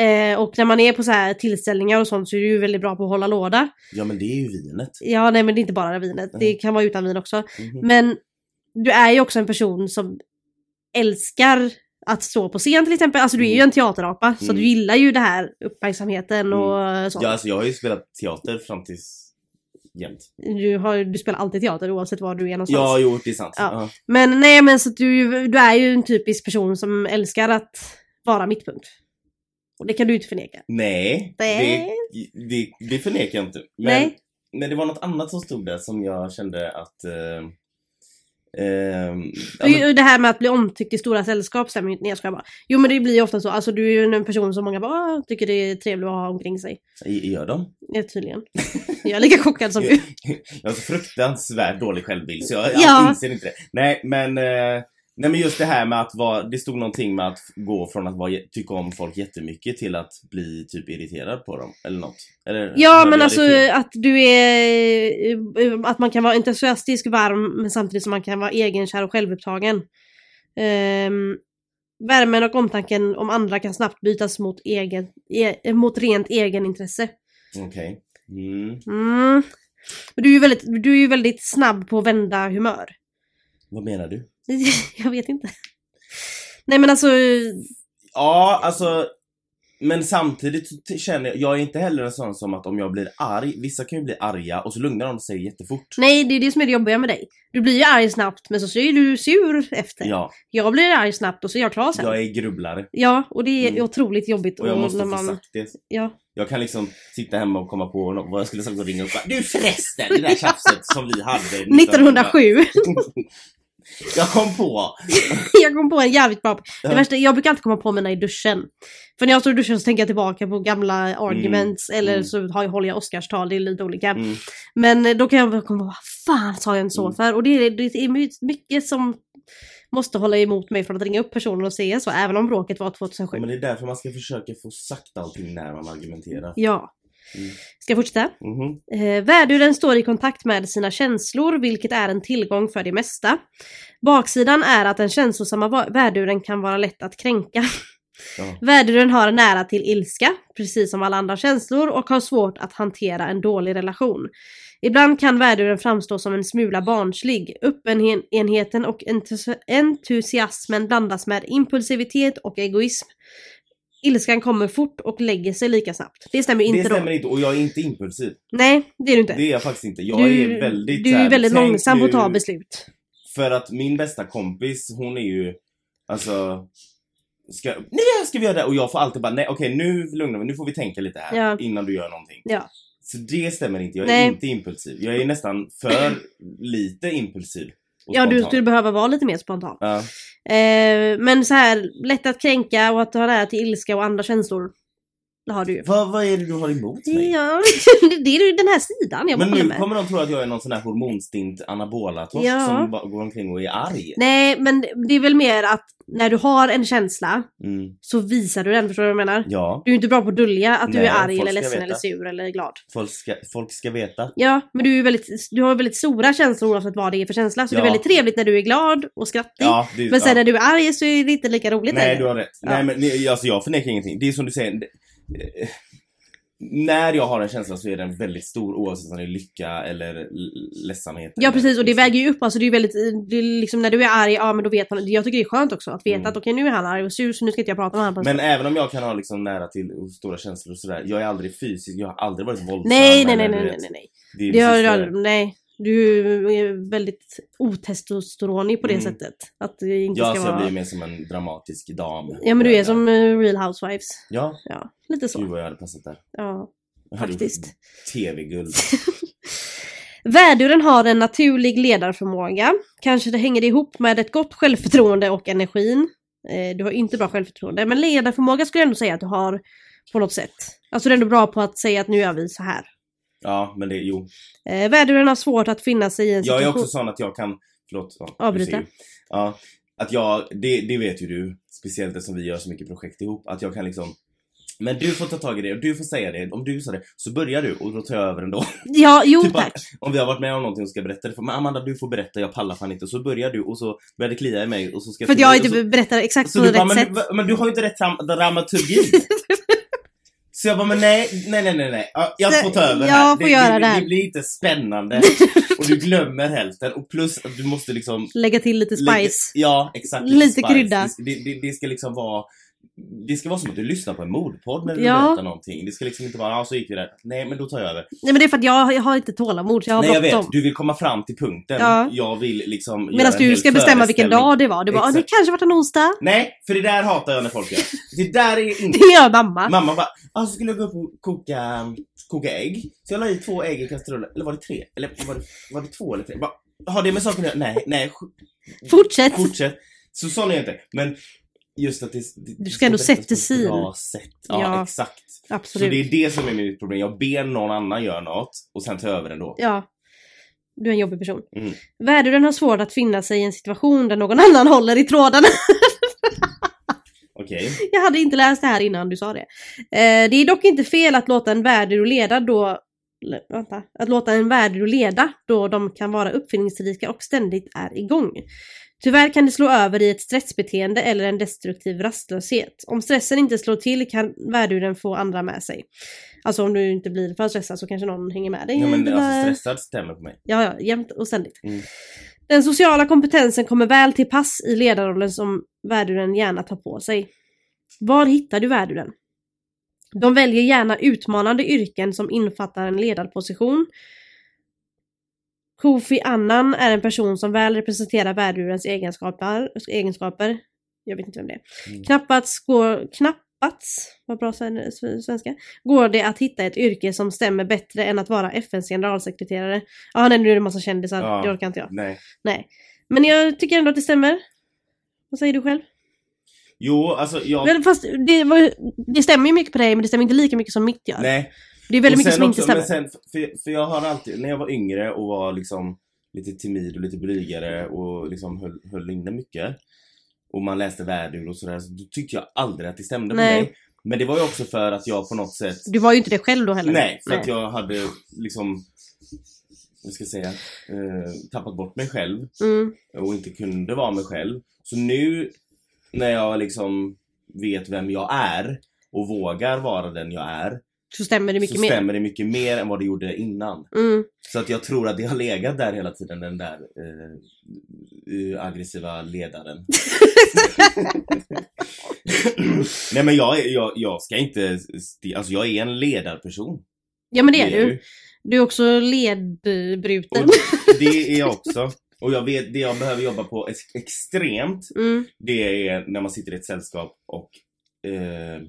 S1: Eh, och när man är på så här tillställningar och sånt så är du ju väldigt bra på att hålla låda.
S2: ja men det är ju vinet.
S1: Ja nej men det är inte bara vinet. Det
S2: Nej.
S1: kan vara utan vin också.
S2: Mhm.
S1: Men du är ju också en person som älskar att stå på scen till exempel. Alltså du är ju en teaterapa. Så
S2: Mm.
S1: du gillar ju det här uppmärksamheten och sånt.
S2: Ja, alltså jag har ju spelat teater fram tills jämt.
S1: Du, har, du spelar alltid teater oavsett var du är någonstans.
S2: Ja, jo, det är sant.
S1: Ja.
S2: Ja.
S1: Men nej men så att du, du är ju en typisk person som älskar att vara mittpunkt. Och det kan du inte förneka.
S2: Nej, det,
S1: Nej.
S2: det, det förnekar jag inte. Men,
S1: Nej.
S2: men det var något annat som stod där som jag kände att... Eh, ehm, ja,
S1: Och
S2: men,
S1: ju- Det här med att bli omtyckt i stora sällskap stämmer ju inte. Nej jag skojar bara. Jo men det blir ju ofta så. Alltså du är ju en person som många bara "Ah, tycker det är trevligt att ha omkring sig.
S2: i- gör de?
S1: Ja, tydligen. Jag är lika chockad som du.
S2: Jag, jag har så fruktansvärt dålig självbild så jag, jag
S1: Ja.
S2: inser inte det. Nej men, eh, nej men just det här med att vara, det stod någonting med att gå från att vara, jä- tycka om folk jättemycket till att bli typ irriterad på dem eller något. Eller,
S1: Ja
S2: hörde
S1: men
S2: jag
S1: alltså
S2: det fel?
S1: att du är... eh, Att man kan vara entusiastisk, varm men samtidigt som man kan vara egenkär och självupptagen. Ehm, värmen och omtanken om andra kan snabbt bytas mot, egen, e, mot rent egenintresse.
S2: Okej. Mm.
S1: Mm. Men Du är ju väldigt, du är ju väldigt snabb på att vända humör.
S2: Vad menar du?
S1: Jag vet inte. Nej men alltså,
S2: Ja, alltså. Men samtidigt så t- känner jag, jag är inte heller en sån som att om jag blir arg, vissa kan ju bli arga och så lugnar de sig jättefort.
S1: nej det är det som är det jobbiga med dig. Du blir ju arg snabbt men så så är du sur efter.
S2: Ja,
S1: Jag blir arg snabbt och så är jag klar sen.
S2: jag är grubblare
S1: Ja, och det är
S2: Mm.
S1: otroligt jobbigt.
S2: och jag måste
S1: när
S2: få
S1: man...
S2: sagt det.
S1: Ja.
S2: Jag kan liksom sitta hemma och komma på något, vad jag skulle sagt och ringa upp och bara, Du förresten, det där tjafset som vi hade
S1: 1907.
S2: Jag kom på!
S1: jag kom på en jävligt bra...
S2: Ja.
S1: Det värsta, jag brukar alltid komma på mina i duschen. För när jag står i duschen så tänker jag tillbaka på gamla arguments eller
S2: Mm.
S1: så har jag, håller jag Oscarstal, det är lite olika.
S2: Mm.
S1: Men eh, då kan jag bara komma på, vad fan sa jag en så
S2: Mm.
S1: för? Och det är, det är my- mycket som måste hålla emot mig från att ringa upp personen och säga så, även om bråket var 2007.
S2: Men det är därför man ska försöka få sagt allting när man argumenterar.
S1: Ja.
S2: Mm.
S1: Ska jag fortsätta?
S2: Mhm.
S1: Eh, värduren står i kontakt med sina känslor, vilket är en tillgång för det mesta. Baksidan är att den känslosamma va- värduren kan vara lätt att kränka.
S2: Ja.
S1: Värduren har nära till ilska, precis som alla andra känslor, och har svårt att hantera en dålig relation. Ibland kan värduren framstå som en smula barnslig. Öppenheten och entusi- entusiasmen blandas med impulsivitet och egoism. Ilskan kommer fort och lägger sig lika snabbt. Det stämmer inte
S2: Det stämmer
S1: då.
S2: inte och jag är inte impulsiv.
S1: Nej, det är du inte.
S2: Det är jag faktiskt inte. Jag
S1: Du-
S2: är väldigt
S1: Du
S2: så här,
S1: är väldigt
S2: tänk
S1: långsam på att ta
S2: nu.
S1: beslut.
S2: För att min bästa kompis, hon är ju, alltså, Ska, nej, ska vi göra det? Och jag får alltid bara, nej okej nu lugnar vi nu får vi tänka lite här
S1: Ja.
S2: innan du gör någonting.
S1: Ja.
S2: Så det stämmer inte, jag är
S1: Nej.
S2: inte impulsiv. Jag är nästan för lite impulsiv. och
S1: Ja, du
S2: spontan.
S1: skulle behöva vara lite mer spontan.
S2: Ja.
S1: Eh, men så här, lätt att kränka och att ha nära till ilska och andra känslor. Det har du ju.
S2: Vad, vad är det du har emot mig?
S1: Ja, det är ju den här sidan jag
S2: Men
S1: håller
S2: nu
S1: med.
S2: kommer de tro att jag är någon sån här hormonstint anabola-torsk
S1: Ja.
S2: som bara går omkring och är arg.
S1: Nej, men det är väl mer att när du har en känsla
S2: Mm.
S1: så visar du den, förstår du vad jag menar?
S2: Ja,
S1: Du är inte bra på att dölja att du
S2: Nej,
S1: är arg
S2: folk
S1: eller ledsen
S2: ska veta.
S1: eller sur eller glad.
S2: folk ska, folk ska veta.
S1: Ja, men du, är ju väldigt, du har ju väldigt stora känslor oavsett vad det är för känsla. Så det är
S2: Ja.
S1: väldigt trevligt när du är glad och skrattig.
S2: Ja, det,
S1: Men sen
S2: ja.
S1: när du är arg så är det inte lika roligt
S2: Nej,
S1: längre.
S2: du har rätt.
S1: Ja.
S2: Nej, men nej, alltså, jag förnekar ingenting. Det är som du säger. Det, eh, när jag har en känsla så är den väldigt stor oavsett om det är lycka eller l- ledsamhet.
S1: Ja
S2: eller-
S1: precis och det väger ju upp, alltså det är ju väldigt, det är liksom när du är arg, ja men då vet man, jag tycker det är skönt också att veta
S2: Mm.
S1: att okej nu är han arg och sur så nu ska inte jag prata med honom på en
S2: Men
S1: stund.
S2: även om jag kan ha liksom nära till och stora känslor och sådär. Jag är aldrig fysisk, jag har aldrig varit våldsam.
S1: Nej nej nej
S2: eller,
S1: nej
S2: du
S1: nej
S2: vet,
S1: nej. nej.
S2: Det är
S1: Det har
S2: precis
S1: du
S2: det.
S1: aldrig, nej. Du är väldigt otestosteronig på det
S2: Mm.
S1: sättet. Att det inte
S2: Ja,
S1: ska
S2: så jag
S1: vara...
S2: blir mer som en dramatisk dam.
S1: Ja men du är som eh, Real Housewives.
S2: Ja,
S1: Ja, lite
S2: gud
S1: så.
S2: vad jag hade passat där.
S1: Ja,
S2: Jag hade gjort
S1: faktiskt.
S2: TV-guld.
S1: Värduren har en naturlig ledarförmåga. Kanske det hänger ihop med ett gott självförtroende och energin. Eh, Du har inte bra självförtroende, men ledarförmåga skulle jag ändå säga att du har på något sätt. Alltså du är ändå bra på att säga att nu gör vi så här.
S2: Ja, men det, jo.
S1: Eh, Värduren har svårt att finna sig i en
S2: Jag
S1: situation.
S2: är också sån att jag kan, förlåt. Ja, du
S1: Avbryta.
S2: ser ju. Ja, att jag, det, det vet ju du. Speciellt eftersom vi gör så mycket projekt ihop. Att jag kan liksom, men du får ta tag i det och du får säga det. Om du sa det så börjar du och då tar jag över ändå.
S1: Ja, jo
S2: Typ att-
S1: tack.
S2: Om vi har varit med om någonting och ska berätta det. För, men Amanda du får berätta, jag pallar fan inte. Och så börjar du och så börjar det klia i mig och så ska
S1: För att jag
S2: och så-
S1: inte berättar exakt
S2: Så
S1: på
S2: Alltså, du
S1: Alltså, rätt
S2: bara, men,
S1: sätt.
S2: du- va- men du har ju inte rätt dram- dramaturgi. Så jag bara, men nej, nej, nej, nej, nej. Ja, Jag
S1: Så-
S2: får ta över
S1: jag
S2: här.
S1: får göra
S2: det,
S1: det här.
S2: det blir inte spännande. Och du glömmer hälften. Och plus att du måste liksom...
S1: Lägga till lite spice.
S2: lägga- ja, exakt.
S1: Lite
S2: spice.
S1: krydda.
S2: Det, det, det ska liksom vara... Det ska vara som att du lyssnar på en mordpodd när du
S1: Ja.
S2: berättar någonting. Det ska liksom inte vara, ja så gick vi där. Nej, men då tar jag över.
S1: Nej men det är för att jag, jag har inte tålamod, så jag har
S2: nej, jag vet.
S1: bråttom.
S2: Du vill komma fram till punkten.
S1: Ja.
S2: Jag vill liksom... göra
S1: Medan
S2: en
S1: du
S2: hel
S1: ska bestämma vilken
S2: föreställning.
S1: dag det var. Du bara, "Ah, det
S2: Exakt.
S1: kanske varit en onsdag.
S2: Nej, för det där hatar jag när folk gör. Det där är inte
S1: Det gör mamma.
S2: Mamma bara, ah, så skulle jag gå upp och koka, mm, koka ägg. Så jag la i två ägg i kastrullen, eller var det tre? Eller var det, var det två eller tre? Jag Bara, har det med saken att göra? Nej, nej, sk-
S1: Fortsätt.
S2: fortsätt. Så sån är jag inte. Men just att det, det
S1: Du
S2: det
S1: ska ändå
S2: berättas
S1: sätta
S2: på ett
S1: syn.
S2: Bra sätt. Ja,
S1: Ja,
S2: exakt. Så
S1: Absolut.
S2: det är det som är mitt problem. Jag ber någon annan göra något och sen tar jag över ändå.
S1: Ja. Du är en jobbig person.
S2: Mm.
S1: Värduren har svårt att finna sig i en situation där någon annan håller i trådarna.
S2: Okej.
S1: Jag hade inte läst det här innan du sa det. Eh, det är dock inte fel att låta en värdur leda då... l- Vänta. Att låta en värdur leda då de kan vara uppfinningsrika och ständigt är igång. Tyvärr kan det slå över i ett stressbeteende eller en destruktiv rastlöshet. Om stressen inte slår till kan värduren få andra med sig. Alltså om du inte blir för stressad så kanske någon hänger med dig.
S2: Ja, men
S1: Eller-
S2: alltså stressad stämmer på mig.
S1: Ja, ja, jämt och ständigt.
S2: Mm.
S1: Den sociala kompetensen kommer väl till pass i ledarrollen som värduren gärna tar på sig. Var hittar du värduren? De väljer gärna utmanande yrken som infattar en ledarposition. Kofi Annan är en person som väl representerar värdurens egenskaper. egenskaper. Jag vet inte vem det är.
S2: Mm.
S1: Knappats går... Knappats? Vad bra sen- s- svenska. Går det att hitta ett yrke som stämmer bättre än att vara FNs generalsekreterare? Ja, han nämnde ju en massa kändisar.
S2: Ja.
S1: Det orkar inte jag.
S2: Nej.
S1: Nej. Men jag tycker ändå att det stämmer. Vad säger du själv?
S2: Jo, alltså jag...
S1: Men fast det, var, det stämmer ju mycket på dig, men det stämmer inte lika mycket som mitt gör.
S2: Nej,
S1: Det är väldigt
S2: Och
S1: mycket
S2: sen
S1: som inte
S2: också-
S1: stämmer.
S2: Men sen, för, för jag har alltid, när jag var yngre och var liksom lite timid och lite blygare och liksom höll, höll inne mycket och man läste värdur och sådär, så då tyckte jag aldrig att det stämde
S1: Nej.
S2: på mig. Men det var ju också för att jag på något sätt
S1: Du var ju inte det själv då heller.
S2: Nej, för att jag hade liksom vad ska jag säga, eh, tappat bort mig själv
S1: Mm.
S2: och inte kunde vara mig själv. Så nu när jag liksom vet vem jag är och vågar vara den jag är
S1: Så stämmer det mycket
S2: så
S1: mer.
S2: stämmer det mycket mer än vad det gjorde innan.
S1: Mm.
S2: Så att jag tror att det har legat där hela tiden, den där eh, eh, aggressiva ledaren. Nej men jag, är- jag, jag ska inte, sti- alltså jag är en ledarperson.
S1: Ja men det är
S2: jag
S1: du.
S2: ju.
S1: Du är också ledbruten.
S2: Och det är jag också. Och jag vet, det jag behöver jobba på ex- extremt
S1: Mm.
S2: Det är när man sitter i ett sällskap och eh,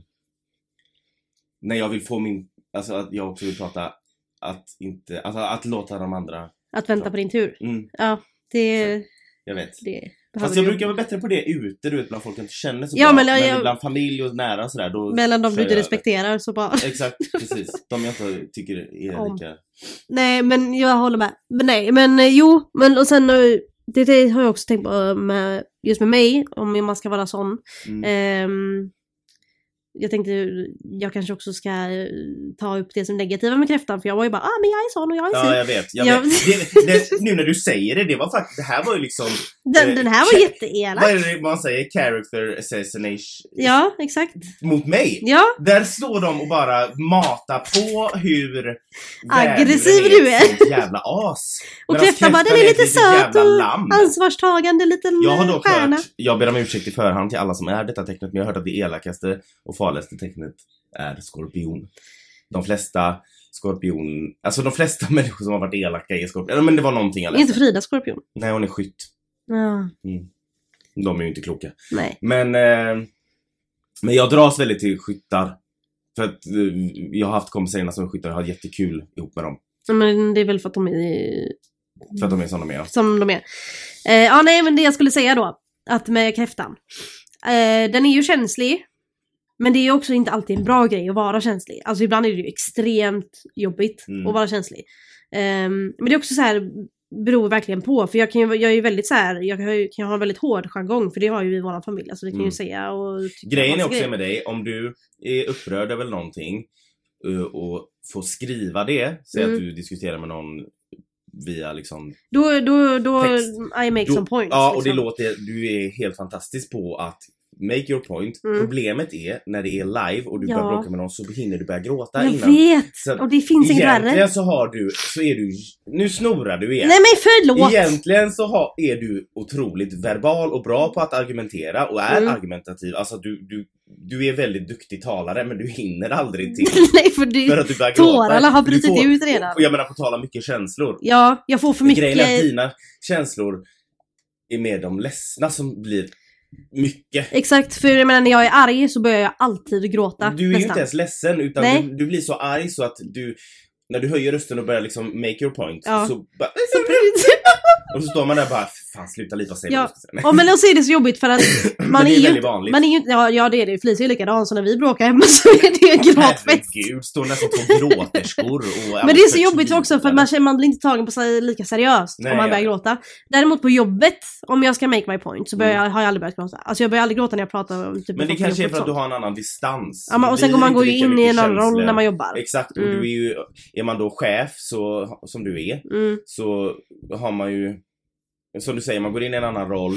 S2: när jag vill få min, alltså att jag också vill prata, att inte, alltså att låta de andra,
S1: Att vänta på din tur.
S2: mm,
S1: Det,
S2: jag vet.
S1: det behöver
S2: Fast jag
S1: du.
S2: brukar vara bättre på det ute, du vet, bland folk jag inte känner så
S1: Ja,
S2: bra.
S1: men jag- jag-
S2: bland familj och nära och sådär, då
S1: Mellan de
S2: kör
S1: du inte
S2: jag-
S1: respekterar så bara...
S2: Exakt, precis. De jag inte tycker är
S1: Om.
S2: lika...
S1: Nej, men jag håller med. Men nej, men eh, jo, men och sen eh, det, det har jag också tänkt på eh, med, just med mig, om man ska vara sån.
S2: Mm.
S1: Ehm, jag tänkte ju- jag kanske också ska eh, ta upp det som negativa med kräftan för jag var ju bara ah men jag är sån och jag är
S2: Ja,
S1: sån.
S2: jag vet. Jag
S1: Ja.
S2: vet. Det, det, nu när du säger det, det var faktiskt, det här var ju liksom,
S1: Den, den här var
S2: Kä-
S1: jätteelak.
S2: vad är det man säger? Character assassination
S1: Ja, exakt.
S2: mot mig.
S1: Ja,
S2: Där står de och bara matar på hur
S1: Aggressiv
S2: väl
S1: du är.
S2: ett sånt jävla as.
S1: Och
S2: Medans
S1: kräftan bara, den är
S2: alltså, ett
S1: lite
S2: litet
S1: söt
S2: jävla
S1: och
S2: lamm.
S1: ansvarstagande liten
S2: Jag har
S1: eh,
S2: dock
S1: stjärna.
S2: hört, jag ber om ursäkt i förhand till alla som är detta tecknet, men jag har hört att det elakaste och farligaste tecknet är skorpion. De flesta skorpion, alltså de flesta människor som har varit elaka är skorpion. Men det var någonting jag
S1: Är
S2: läste.
S1: inte Frida skorpion?
S2: Nej, hon är skytt.
S1: Ja,
S2: De är ju inte kloka.
S1: nej.
S2: Men, eh, men jag dras väldigt till skyttar. För att eh, jag har haft kompisar innan som är skyttar och har jättekul ihop med dem.
S1: Men det är väl för att de är
S2: För att de är som de är.
S1: som de är. Eh, ja, nej, men det jag skulle säga då, att med kräftan. Eh, den är ju känslig, men det är ju också inte alltid en bra grej att vara känslig. Alltså ibland är det ju extremt jobbigt
S2: Mm.
S1: att vara känslig. Ehm, men det är också så här, beror verkligen på, för jag, kan ju, jag är ju väldigt så här, jag kan ju, kan ju ha en väldigt hård jargong, för det har ju vi i vår familj, alltså det kan
S2: Mm.
S1: ju säga och... tycka
S2: Grejen är
S1: massa
S2: också
S1: grejer.
S2: med dig, om du är upprörd över någonting eh, och får skriva det, säg
S1: Mm.
S2: att du diskuterar med någon via liksom...
S1: Då, då, då,
S2: Text.
S1: I make
S2: Då-
S1: some points.
S2: Ja, och det
S1: liksom.
S2: låter... Du är helt fantastisk på att make your point.
S1: Mm.
S2: Problemet är när det är live och du börjar
S1: Ja.
S2: bråka med någon så hinner du börja gråta
S1: Jag
S2: innan.
S1: vet!
S2: Så att
S1: Och det finns inget värre.
S2: egentligen så har du... Så är du... Nu snorar du igen.
S1: Nej men förlåt!
S2: Egentligen så har, är du otroligt verbal och bra på att argumentera och är
S1: Mm.
S2: argumentativ. Alltså du, du, du är väldigt duktig talare men du hinner aldrig till.
S1: Nej för det...
S2: För att du börjar gråta.
S1: Tårarna har
S2: Du
S1: brutit
S2: får-
S1: ut redan.
S2: Och jag menar på tal om mycket känslor.
S1: Ja, jag får för
S2: Grejen är att
S1: mycket.
S2: dina känslor är mer de ledsna som blir mycket.
S1: Exakt, för jag menar när jag är arg så börjar jag alltid gråta.
S2: Du är ju
S1: nästan.
S2: inte ens ledsen utan
S1: Nej.
S2: du, du blir så arg så att du när du höjer rösten och börjar liksom make your point
S1: Ja.
S2: så bara,
S1: Så blir det-
S2: och så står man där bara fan sluta lipa sig
S1: Ja. Ja men och så är det så jobbigt för att man
S2: det
S1: är,
S2: är
S1: ju
S2: väldigt
S1: inte,
S2: vanligt.
S1: man är ju inte, ja, ja det är det ju, Felicia är likadan så när vi bråkar hemma så är det en gråtfest.
S2: Herregud, står nästan två gråterskor och
S1: Men det är så jobbigt också för att man, känner, man blir inte tagen på sig lika seriöst
S2: Nej,
S1: om man
S2: jag
S1: börjar
S2: vet.
S1: gråta. Däremot på jobbet, om jag ska make my point, så börjar
S2: Mm.
S1: jag, har jag aldrig börjat gråta. Alltså jag börjar aldrig gråta när jag pratar om typ
S2: Men det
S1: folk på
S2: kanske är
S1: jobbet
S2: för att du
S1: sånt.
S2: har en annan distans.
S1: Ja, men,
S2: Det
S1: och sen
S2: blir
S1: går man
S2: inte
S1: gå
S2: lika
S1: in i
S2: mycket
S1: en annan roll
S2: känslor.
S1: när man jobbar.
S2: Exakt, och
S1: Mm.
S2: du är ju, är man då chef så, som du är,
S1: Mm.
S2: så har man ju, som du säger, man går in i en annan roll.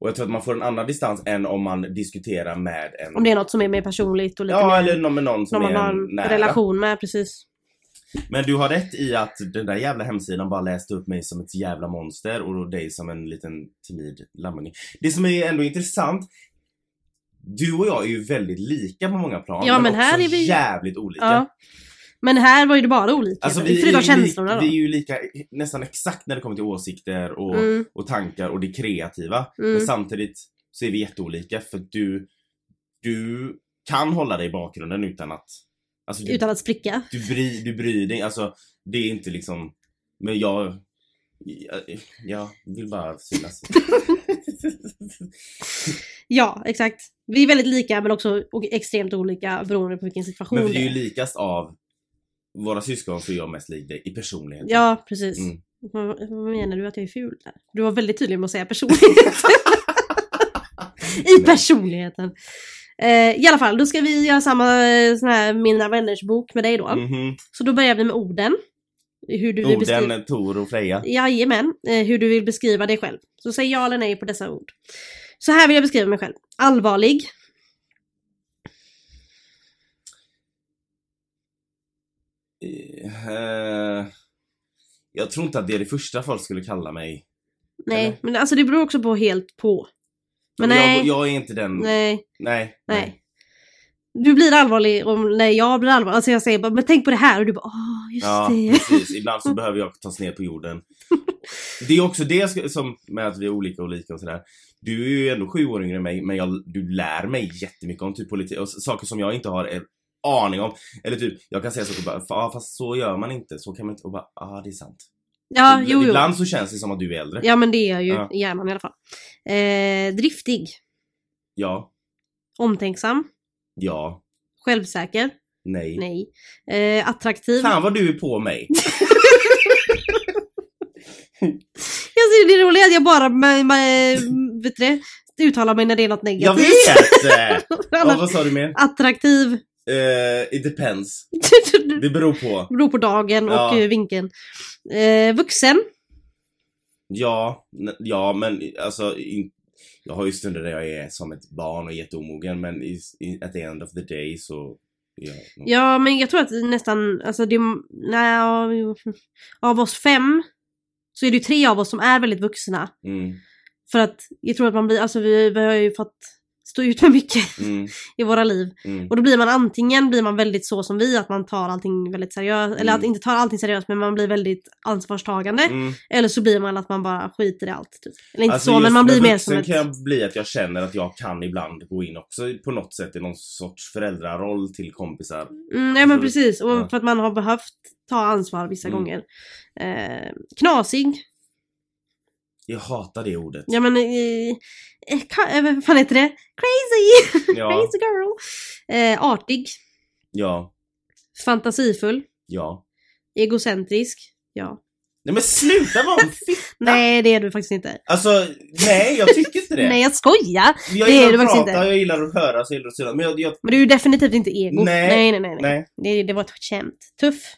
S2: Och jag tror att man får en annan distans än om man diskuterar med en...
S1: Om det är något som är mer personligt och lite
S2: ja,
S1: mer...
S2: eller någon, med någon som
S1: någon man
S2: är
S1: har
S2: en
S1: en
S2: nära.
S1: relation med, precis.
S2: Men du har rätt i att den där jävla hemsidan bara läste upp mig som ett jävla monster och dig som en liten timid lammunge. Det som är ändå intressant, du och jag är ju väldigt lika på många plan.
S1: Ja, men här
S2: också
S1: är vi-
S2: jävligt olika.
S1: Ja. Men här var ju det bara olika.
S2: Alltså vi,
S1: Förutom
S2: är ju li-
S1: känslorna då.
S2: vi är ju lika nästan exakt när det kommer till åsikter och,
S1: Mm,
S2: och tankar och det kreativa.
S1: Mm.
S2: Men samtidigt så är vi jätteolika för att du, du kan hålla dig i bakgrunden utan att... Alltså du,
S1: utan att spricka.
S2: du, bry, du bryr dig, alltså det är inte liksom... Men jag... Jag, jag vill bara synas.
S1: Ja, exakt. Vi är väldigt lika men också och extremt olika beroende på vilken situation
S2: Men vi är
S1: det
S2: ju likast av våra syskon så är jag mest lik dig i personlighet.
S1: Ja, precis.
S2: Mm.
S1: Vad, vad menar du att jag är ful där? Du var väldigt tydlig med att säga personlighet. I personligheten. Eh, I alla fall, då ska vi göra samma eh, sån här Mina vänners bok med dig då.
S2: Mhm.
S1: Så då börjar vi med orden. Hur du vill beskriva-
S2: Oden, Tor och Freja.
S1: Jajamän, eh, hur du vill beskriva dig själv. Så säg ja eller nej på dessa ord. Så här vill jag beskriva mig själv. Allvarlig.
S2: Eh, jag tror inte att det är det första folk skulle kalla mig.
S1: Nej,
S2: Eller?
S1: men alltså det beror också på helt på. Men nej,
S2: jag, jag är inte den... Nej.
S1: nej,
S2: nej.
S1: nej. Du blir allvarlig om, när jag blir allvarlig. Alltså jag säger bara, men tänk på det här och du bara, åh just
S2: Ja,
S1: det.
S2: precis. Ibland så behöver jag tas ner på jorden. Det är också det jag ska- som med att vi är olika och lika och sådär. Du är ju ändå sju år yngre än mig men jag, du lär mig jättemycket om typ politik och s- saker som jag inte har en aning om. Eller typ, jag kan säga saker och bara, "Fa- ah, fast så gör man inte, så kan man inte. Och bara, ah det är sant.
S1: Ja,
S2: Ibl-
S1: jo, jo.
S2: Ibland så känns det som att du är äldre.
S1: Ja, men det är jag ju
S2: Ja.
S1: i hjärnan i alla fall. Eh, driftig.
S2: Ja.
S1: Omtänksam.
S2: Ja.
S1: Självsäker.
S2: Nej.
S1: Nej. Eh, attraktiv.
S2: Mm. Fan vad du är på mig.
S1: Jag ser det roliga är att jag bara med, med, vet du det, uttalar mig när det är något
S2: jag
S1: negativt.
S2: vet! Eh, ja,
S1: Annars-
S2: vad sa du mer?
S1: Attraktiv.
S2: Eh, it depends. Det beror på.
S1: Beror på dagen och
S2: Ja.
S1: eh, vinkeln. Eh, vuxen.
S2: Ja, n- ja men alltså in, jag har ju stunder där jag är som ett barn och jätteomogen men i, i, at the end of the day så... Ja,
S1: Ja, men jag tror att nästan, alltså det, nej, ja, jo. av oss fem så är det ju tre av oss som är väldigt vuxna.
S2: Mm,
S1: För att jag tror att man blir, alltså vi, vi har ju fått stå ut med mycket
S2: mm,
S1: i våra liv.
S2: mm.
S1: Och då blir man antingen blir man väldigt så som vi, att man tar allting väldigt seriöst, eller att
S2: Mm.
S1: inte tar allting seriöst men man blir väldigt ansvarstagande.
S2: Mm.
S1: Eller så blir man att man bara skiter i allt. Typ. Eller inte
S2: Alltså,
S1: så,
S2: just
S1: men man blir
S2: med
S1: mer
S2: vuxen
S1: som ett...
S2: kan jag bli att jag känner att jag kan ibland gå in också på något sätt i någon sorts föräldraroll till kompisar.
S1: Mm, ja men
S2: Så-
S1: precis, och
S2: Alltså, ja.
S1: för att man har behövt ta ansvar vissa
S2: Mm.
S1: gånger. Eh, knasig.
S2: Jag hatar det ordet.
S1: Ja men... Eh, eh, ka- eh, vad fan heter det? Crazy!
S2: Ja,
S1: Crazy girl! Eh, artig.
S2: ja,
S1: Fantasifull.
S2: ja.
S1: Egocentrisk. Ja.
S2: Nej men sluta vara en fitta!
S1: Nej det är du faktiskt inte.
S2: Alltså, nej jag tycker inte det.
S1: Nej jag skojar!
S2: jag
S1: det är
S2: gillar
S1: du
S2: att
S1: faktiskt
S2: prata,
S1: inte.
S2: jag gillar att höra, så gillar att synas. Men jag, jag,
S1: Men du är ju definitivt inte ego.
S2: Nej.
S1: nej, nej. nej, nej.
S2: nej.
S1: Det, det var ett skämt. Tuff.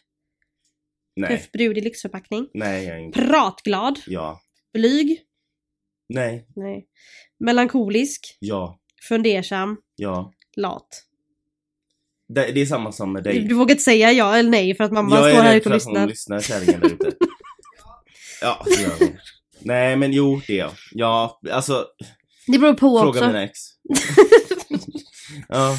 S2: Nej,
S1: Tuff brud i lyxförpackning.
S2: nej jag är inte.
S1: Pratglad.
S2: Ja.
S1: Blyg.
S2: Nej,
S1: Nej. Melankolisk.
S2: ja,
S1: Fundersam.
S2: ja.
S1: Lat.
S2: Det, det är samma som med dig.
S1: Du vågar inte säga ja eller nej för att mamma
S2: jag
S1: står
S2: är
S1: här
S2: rädd
S1: ute och
S2: för att hon
S1: lyssnar.
S2: lyssnar kärringen där ute. Ja, det gör hon. Nej men jo, det är jag. Ja, alltså
S1: Det beror på
S2: fråga
S1: också.
S2: mina ex. ja,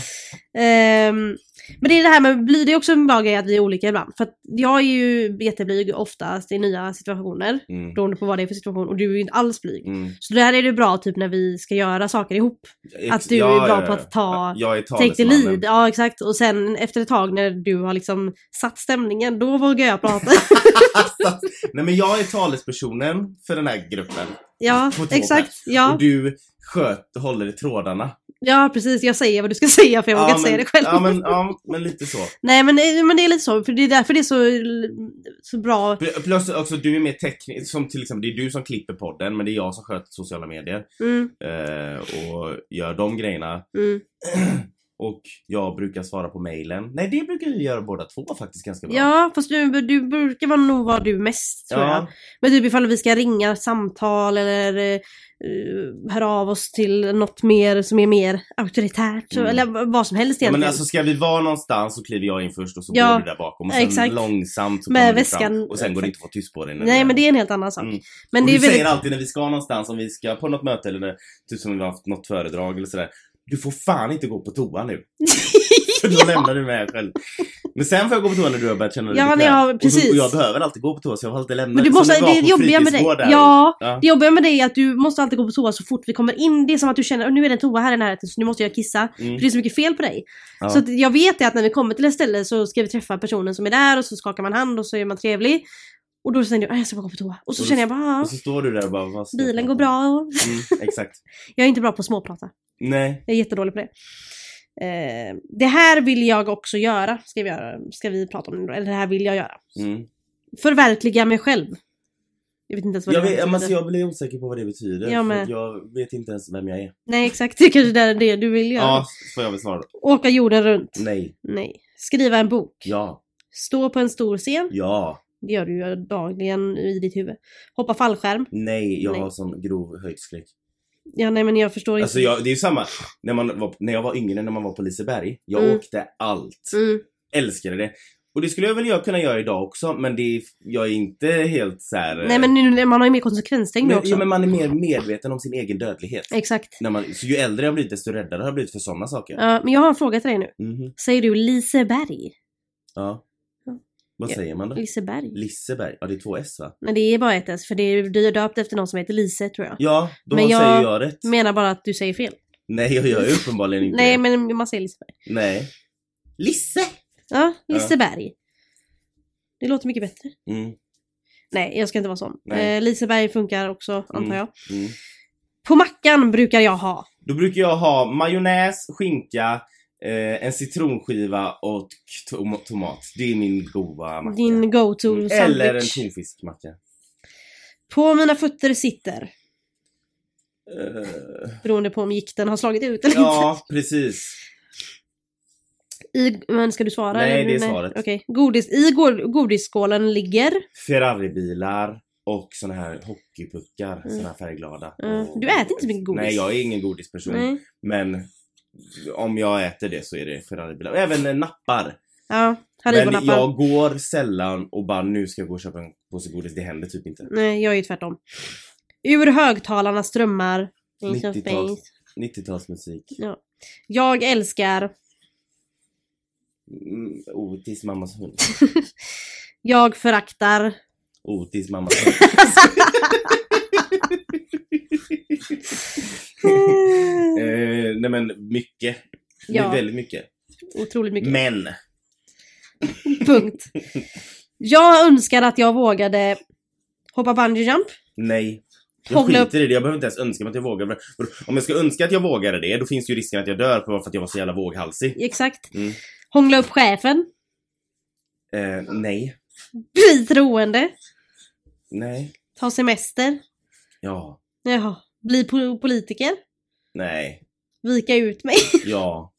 S1: Ehm, men det är det här med bly, det är också en bra grej att vi är olika ibland. För att jag är ju jätteblyg oftast i nya situationer.
S2: mm,
S1: Beroende på vad det är för situation och du är ju inte alls blyg.
S2: mm.
S1: Så där är det bra typ när vi ska göra saker ihop.
S2: Ex-
S1: Att du är bra på att ta-
S2: Jag är
S1: Take the
S2: talesmannen.
S1: lead, ja exakt. Och sen efter ett tag när du har liksom satt stämningen, då vågar jag prata.
S2: Nej men jag är talespersonen för den här gruppen.
S1: ja,
S2: På tåget.
S1: exakt.
S2: Och
S1: Ja,
S2: du sköt, håller i trådarna.
S1: ja, precis. Jag säger vad du ska säga för jag vågar
S2: Ja,
S1: inte säga
S2: men-
S1: det själv.
S2: Ja men, ja, men lite så.
S1: Nej, men, men det är lite så. För det är därför det är så, så bra.
S2: Pl- Plus också du är mer teknisk, som till exempel det är du som klipper podden men det är jag som sköter sociala medier.
S1: Mm,
S2: Eh, och gör de grejerna.
S1: mm.
S2: Och jag brukar svara på mailen. Nej det brukar vi göra båda två faktiskt ganska bra.
S1: Ja, fast du, du brukar vara nog vara du mest tror jag.
S2: ja,
S1: Men typ ifall vi ska ringa samtal eller eh, eh, höra av oss till något mer som är mer auktoritärt. så-
S2: Mm.
S1: Eller v- vad som helst
S2: ja,
S1: egentligen.
S2: men alltså ska vi vara någonstans så kliver jag in först och så
S1: Ja,
S2: går du där bakom. Och sen
S1: exakt.
S2: långsamt så
S1: Med
S2: kommer du
S1: väskan.
S2: fram. Och sen går det inte att få tyst på dig. när du
S1: Nej
S2: är-
S1: men det är en helt annan sak.
S2: Mm.
S1: Men
S2: och
S1: det
S2: du
S1: är väldigt...
S2: säger alltid när vi ska någonstans, om vi ska på något möte eller när, typ som vi har haft något föredrag eller sådär. Du får fan inte gå på toa nu. För då lämnar du mig här själv. Men sen får jag gå på toa när du har börjat känna dig
S1: Ja,
S2: bekväm.
S1: ja,
S2: Och, så,
S1: precis.
S2: och jag behöver alltid gå på toa så jag har alltid lämnat
S1: Men du
S2: som
S1: måste,
S2: när vi var
S1: det
S2: på
S1: jobbiga med dig.
S2: fritidsgård där.
S1: Ja,
S2: Ja.
S1: det jobbiga med dig är att du måste alltid gå på toa så fort vi kommer in. Det är som att du känner att nu är det en toa här i närheten så nu måste jag kissa.
S2: Mm.
S1: För det är så mycket fel på dig.
S2: Ja.
S1: Så att jag vet det att när vi kommer till ett ställe så ska vi träffa personen som är där och så skakar man hand och så är man trevlig. Och då känner jag att jag ska bara gå på toa. Och så
S2: Och då-
S1: känner jag bara, "Ah,
S2: Och så står du där och bara, vad ska jag
S1: bilen
S2: prata
S1: går bra.
S2: om?
S1: och-
S2: Mm, exakt.
S1: Jag är inte bra på att småprata.
S2: Nej.
S1: Jag är jättedålig på det. Eh, det här vill jag också göra, ska vi, göra, ska vi prata om. nu då. Eller det här vill jag göra.
S2: Mm.
S1: Förverkliga mig själv. Jag vet inte ens vad
S2: Jag,
S1: det
S2: vet,
S1: betyder.
S2: alltså, jag blir osäker på vad det betyder.
S1: Jag
S2: för
S1: med.
S2: att jag vet inte ens vem jag är.
S1: Nej exakt, det är kanske är det du vill göra.
S2: Ja, får jag väl svara då.
S1: Åka jorden runt.
S2: Nej.
S1: Nej. Skriva en bok.
S2: Ja.
S1: Stå på en stor scen.
S2: Ja.
S1: Det gör du ju dagligen i ditt huvud. Hoppa fallskärm.
S2: Nej. Jag
S1: Nej.
S2: har sån grov höjdskräck.
S1: Ja, nej men jag förstår
S2: Alltså
S1: inte.
S2: jag, det är ju samma. När, man var, när jag var yngre, när man var på Liseberg. Jag
S1: Mm.
S2: åkte allt.
S1: Mm.
S2: Älskade det. Och det skulle jag väl jag kunna göra idag också men det är, jag är inte helt så här. eh,
S1: Nej men nu, man har ju mer konsekvenstänk nu
S2: men,
S1: också.
S2: ja, men man är mer medveten om sin egen dödlighet.
S1: Exakt.
S2: När man, så ju äldre jag har blivit desto räddare har jag blivit för sådana saker.
S1: Ja, men jag har en fråga till dig nu.
S2: Mhm.
S1: Säger du Liseberg?
S2: Ja. Vad
S1: Ja.
S2: säger man då?
S1: Liseberg.
S2: Liseberg? Ja, det är två S va?
S1: Men det är bara ett S, för det är, du är döpt efter någon som heter Lise tror jag.
S2: Ja, då
S1: Men jag-
S2: säger jag rätt.
S1: Menar bara att du säger fel.
S2: Nej, jag gör ju uppenbarligen inte
S1: Nej,
S2: det.
S1: men man säger Liseberg.
S2: Nej. Lisse!
S1: Ja,
S2: Ja.
S1: Liseberg. Det låter mycket bättre.
S2: Mm,
S1: Nej, jag ska inte vara sån.
S2: Nej.
S1: Eh, Liseberg funkar också, antar jag.
S2: mm.
S1: På mackan brukar jag ha.
S2: Då brukar jag ha majonnäs, skinka, eh, en citronskiva och tom- tomat. Det är min goda macka.
S1: Din go-to
S2: Mm,
S1: sandwich.
S2: Eller en tonfiskmacka.
S1: På mina fötter sitter,
S2: Eh,
S1: beroende på om gikten har slagit ut eller
S2: ja, precis.
S1: inte. I, men ska du svara?
S2: Nej,
S1: eller?
S2: det är svaret. Mm.
S1: Okej. Godis, I go- godisskålen ligger...
S2: Ferraribilar och såna här hockeypuckar,
S1: Mm.
S2: såna här färgglada.
S1: Mm.
S2: Och-
S1: Du äter inte så mycket godis.
S2: Nej, jag är ingen godisperson.
S1: Nej.
S2: Men om jag äter det så är det Ferraribilar. Och även eh, nappar.
S1: Ja,
S2: Men
S1: haribonappar.
S2: jag går sällan och bara nu ska jag gå och köpa en påse godis. Det händer typ inte.
S1: Nej, jag är ju tvärtom. Ur högtalarna strömmar...
S2: 90-tals. 90-talsmusik.
S1: Jag älskar...
S2: Mm, Otis mammas hund.
S1: Jag föraktar...
S2: Otis mammas hund. eh, nej men mycket. Det är
S1: Ja.
S2: väldigt mycket.
S1: Otroligt mycket.
S2: Men!
S1: Punkt. Jag önskar att jag vågade hoppa bungee jump.
S2: Nej. Jag
S1: Hålla upp-
S2: skiter i det, jag behöver inte ens önska mig att jag vågar. Vadå? Om jag ska önska att jag vågade det, då finns ju risken att jag dör för för att jag var så jävla våghalsig.
S1: Exakt.
S2: Mm.
S1: Hångla upp chefen.
S2: Eh, nej.
S1: Bli troende.
S2: Nej.
S1: Ta semester.
S2: Ja.
S1: Jaha. Bli po- politiker.
S2: Nej.
S1: Vika ut mig.
S2: Ja.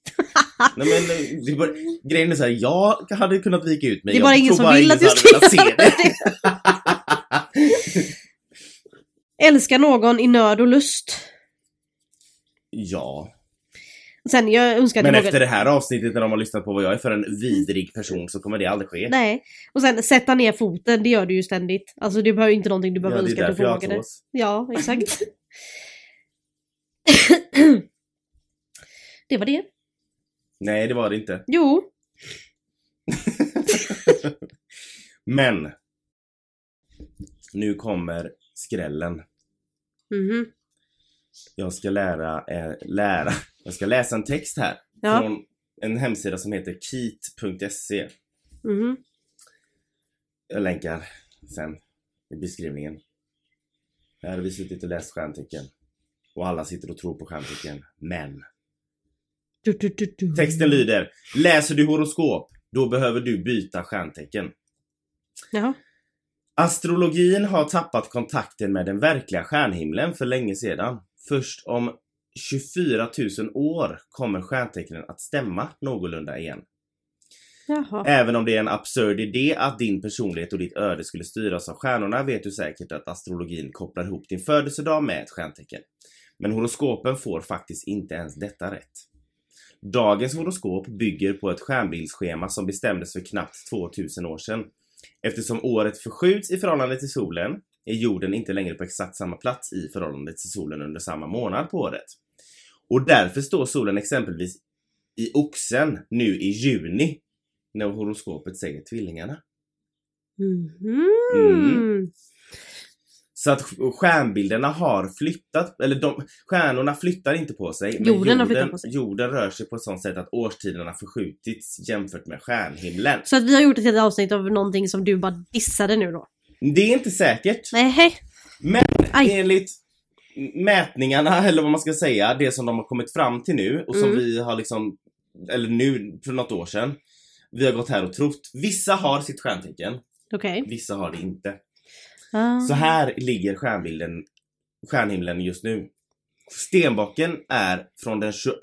S2: Nej men det är bara, grejen är såhär, jag hade kunnat vika ut mig.
S1: Det är
S2: Jag
S1: bara ingen
S2: tror
S1: som vill att du
S2: hade
S1: ska
S2: velat se
S1: göra
S2: det.
S1: det. Älska någon i nöd och lust.
S2: Ja.
S1: Sen, jag önskar att
S2: Men
S1: jag vågade...
S2: efter det här avsnittet när de har lyssnat på vad jag är för en vidrig person så kommer det aldrig ske.
S1: Nej. Och sen sätta ner foten, det gör du ju ständigt. Alltså det behöver ju inte någonting du
S2: ja, det
S1: behöver
S2: är
S1: önska att
S2: därför
S1: du
S2: jag har
S1: vågade.
S2: tvås.
S1: Ja, exakt. det var det.
S2: Nej, det var det inte.
S1: Jo,
S2: Men. Nu kommer skrällen.
S1: mhm.
S2: Jag ska lära, eh, lära. Jag ska läsa en text här.
S1: ja.
S2: Från en hemsida som heter keat.se.
S1: mhm.
S2: Jag länkar sen i beskrivningen. Här har vi suttit och läst stjärntecken. Och alla sitter och tror på stjärntecken. Men.
S1: Du, du, du, du.
S2: Texten lyder. Läser du horoskop, då behöver du byta stjärntecken.
S1: Jaha.
S2: Astrologin har tappat kontakten med den verkliga stjärnhimlen för länge sedan. Först om 24 000 år kommer stjärntecknen att stämma någorlunda igen.
S1: Jaha.
S2: Även om det är en absurd idé att din personlighet och ditt öde skulle styras av stjärnorna vet du säkert att astrologin kopplar ihop din födelsedag med ett stjärntecken. Men horoskopen får faktiskt inte ens detta rätt. Dagens horoskop bygger på ett stjärnbildsschema som bestämdes för knappt 2000 år sedan. Eftersom året förskjuts i förhållande till solen är jorden inte längre på exakt samma plats i förhållande till solen under samma månad på året. Och därför står solen exempelvis i oxen nu i juni när horoskopet säger tvillingarna.
S1: Mhm.
S2: Mm. Så att stjärnbilderna har flyttat, eller de, stjärnorna flyttar inte på sig. men
S1: Jorden har flyttat på sig.
S2: Jorden rör sig på ett sånt sätt att årstiderna förskjutits jämfört med stjärnhimlen.
S1: Så att vi har gjort ett helt avsnitt av någonting som du bara dissade nu då?
S2: Det är inte säkert.
S1: Nej, hej.
S2: Men eh,
S1: Aj.
S2: enligt mätningarna, eller vad man ska säga, det som de har kommit fram till nu och som
S1: Mm.
S2: vi har liksom, eller nu för något år sedan, vi har gått här och trott. Vissa har sitt stjärntecken,
S1: Okej.
S2: vissa har det inte.
S1: Ah.
S2: Så här ligger stjärnbilden, stjärnhimlen just nu. Stenbocken är från den 22...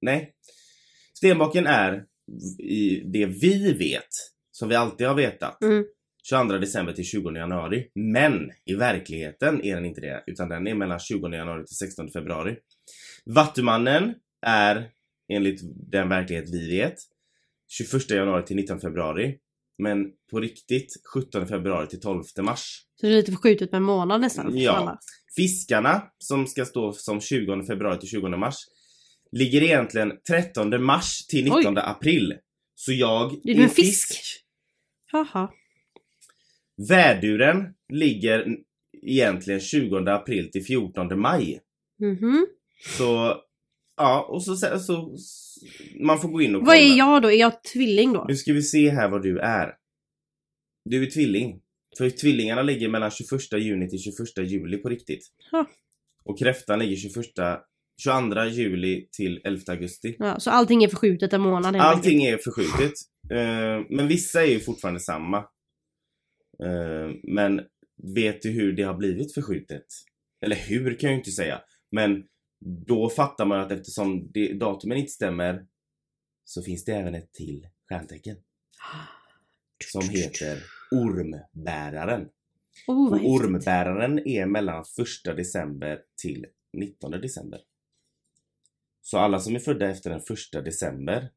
S2: Nej. Stenbocken är i det vi vet, som vi alltid har vetat.
S1: Mm.
S2: 22 december till 20 januari. Men i verkligheten är den inte det, utan den är mellan 20 januari till 16 februari. Vattumannen är enligt den verklighet vi vet 21 januari till 19 februari. Men på riktigt 17 februari till 12 mars.
S1: Så det är lite förskjutet med en månad nästan.
S2: Ja.
S1: för alla.
S2: Fiskarna, som ska stå som 20 februari till 20 mars, ligger egentligen 13 mars till 19 april. Så jag
S1: Du är typ en fisk. Jaha.
S2: Väduren ligger n- egentligen 20 april till 14 maj. Mm-hmm.
S1: Mhm.
S2: Så ja, och så, så, så man får gå in och
S1: Vad är jag då? Är jag tvilling då?
S2: Nu ska vi se här vad du är. Du är tvilling. För tvillingarna ligger mellan 21 juni till 21 juli på riktigt.
S1: Ja.
S2: Och kräftan ligger 21, 22 juli till 11 augusti.
S1: Ja, så allting är förskjutet en månad helt enkelt.
S2: Allting är förskjutet. Eh, men vissa är ju fortfarande samma. Eh, men vet du hur det har blivit förskjutet? Eller hur kan jag ju inte säga. Men då fattar man att eftersom det, datumen inte stämmer så finns det även ett till stjärntecken som heter ormbäraren.
S1: Oh, vad
S2: Och
S1: häftigt.
S2: ormbäraren är mellan 1 december till 19 december. Så alla som är födda efter den 1 december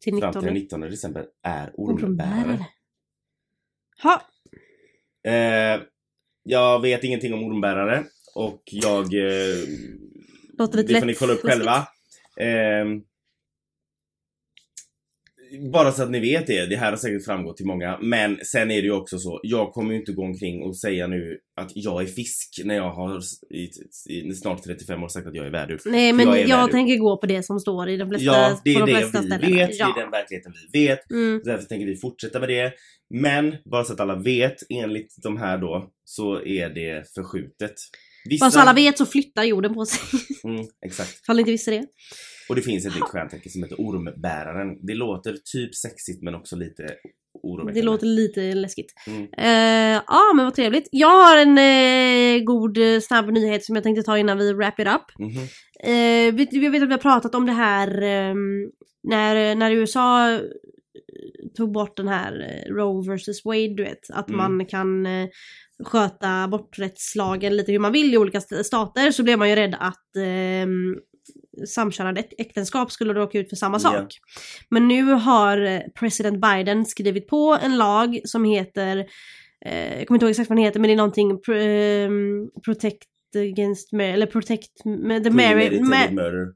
S1: Till
S2: fram till
S1: 19.
S2: den 19 december är ormbärare.
S1: Ormbärare. Ha,
S2: Eh, jag vet ingenting om ormbärare och jag... Eh,
S1: Låter lite
S2: det får ni
S1: lätt
S2: kolla upp
S1: läskigt.
S2: själva. Ehm, bara så att ni vet det, det här har säkert framgått till många. Men sen är det ju också så, jag kommer ju inte gå omkring och säga nu att jag är fisk när jag har s- i, i, snart 35 år sagt att jag är värdur.
S1: Nej
S2: För
S1: men
S2: jag
S1: jag,
S2: är värdur.
S1: tänker gå på det som står i de flesta,
S2: ja, det är
S1: på de
S2: det
S1: flesta
S2: vi
S1: ställena.
S2: vet,
S1: ja.
S2: det är den verkligheten vi vet.
S1: Mm.
S2: Så Därför tänker vi fortsätta med det. Men bara så att alla vet, enligt de här då, så är det förskjutet. Vissa...
S1: Bara så alla vet så flyttar jorden på sig.
S2: Mm, exakt.
S1: Ifall ni inte visste det.
S2: Och det finns ett nytt stjärntecken som heter ormbäraren. Det låter typ sexigt men också lite oroväckande.
S1: Det låter lite läskigt.
S2: Mm.
S1: Eh, Ja men vad trevligt. Jag har en eh, god eh, snabb nyhet som jag tänkte ta innan vi wrap it up.
S2: Mhm.
S1: Eh, vet- jag vet att vi har pratat om det här ehm, när, när USA eh, tog bort den här eh, Roe vs Wade, du vet. Att
S2: Mm.
S1: man kan eh, sköta aborträttslagen lite hur man vill i olika st- stater. Så blev man ju rädd att ehm, samkönade äk- äktenskap skulle råka ut för samma
S2: Ja.
S1: sak. Men nu har eh, president Biden skrivit på en lag som heter, eh, jag kommer inte ihåg exakt vad den heter, men det är någonting pr- ehm, Protect Against, mar- eller Protect, med the marriage,
S2: Premeditated murder.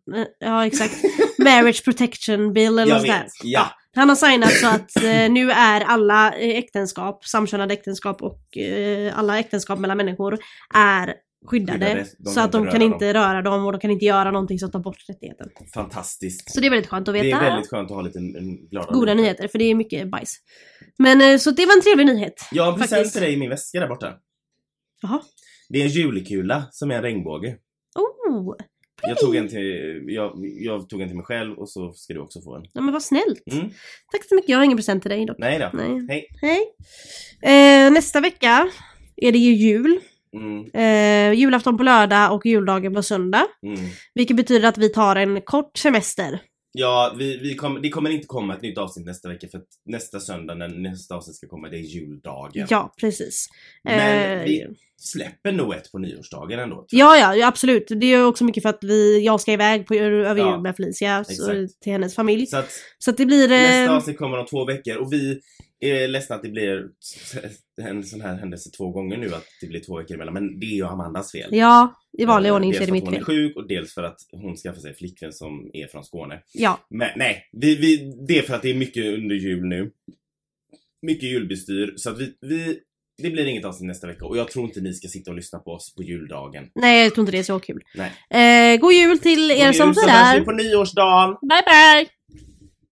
S1: ja exakt, Marriage Protection Bill eller
S2: Jag
S1: något sånt
S2: vet.
S1: där.
S2: Ja.
S1: Han har signat så att eh, nu är alla eh, äktenskap, samkönade äktenskap och eh, alla äktenskap mellan människor är skyddade.
S2: Skyddade. De
S1: så
S2: kan
S1: att de
S2: inte
S1: kan
S2: röra
S1: inte röra dem och de kan inte göra någonting som tar bort rättigheten.
S2: Fantastiskt.
S1: Så det är väldigt skönt att
S2: Det
S1: veta.
S2: är väldigt skönt att ha lite en- en glada
S1: Goda nyheter, för det är mycket bajs. Men eh, så det var en trevlig nyhet.
S2: Jag har en present
S1: Faktiskt.
S2: till dig i min väska där borta.
S1: Jaha.
S2: Det är en julkula som är en regnbåge.
S1: Oh!
S2: Jag tog, en till, jag, jag tog en till mig själv och så ska du också få en.
S1: Ja men vad snällt.
S2: Mm.
S1: Tack så mycket, jag har ingen present till dig dock.
S2: Nej då.
S1: Nej.
S2: Hej.
S1: Hej. Eh, nästa vecka är det ju jul.
S2: Mm,
S1: Eh, julafton på lördag och juldagen på söndag.
S2: mm.
S1: Vilket betyder att vi tar en kort semester.
S2: Ja, vi, vi kom, det kommer inte komma ett nytt avsnitt nästa vecka för att nästa söndag när nästa avsnitt ska komma det är juldagen.
S1: Ja, precis.
S2: Men
S1: Eh,
S2: vi släpper nog ett på nyårsdagen ändå. tror jag.
S1: Ja, ja, ja, absolut. Det är ju också mycket för att vi, jag ska iväg på, över
S2: Ja,
S1: jul med Felicia så,
S2: exakt.
S1: till hennes familj.
S2: Så att
S1: Så att det blir...
S2: nästa
S1: Eh,
S2: avsnitt kommer om två veckor och vi är ledsna att det blir en sån här händelse två gånger nu att det blir två veckor emellan men det är ju Amandas fel. Eh,
S1: ja, i vanlig ordning så
S2: dels
S1: är det
S2: för att
S1: mitt
S2: hon är
S1: fel.
S2: sjuk och dels för att hon skaffar sig flickvän som är från Skåne.
S1: Ja,
S2: Men nej, vi, vi, det är för att det är mycket under jul nu. Mycket julbestyr så att vi, vi det blir inget avsnitt nästa vecka och jag tror inte ni ska sitta och lyssna på oss på juldagen.
S1: nej jag tror inte det är så kul.
S2: Nej.
S1: Eh, god jul till er
S2: God
S1: som
S2: jul, så hörs
S1: firar.
S2: vi på nyårsdagen!
S1: Bye bye!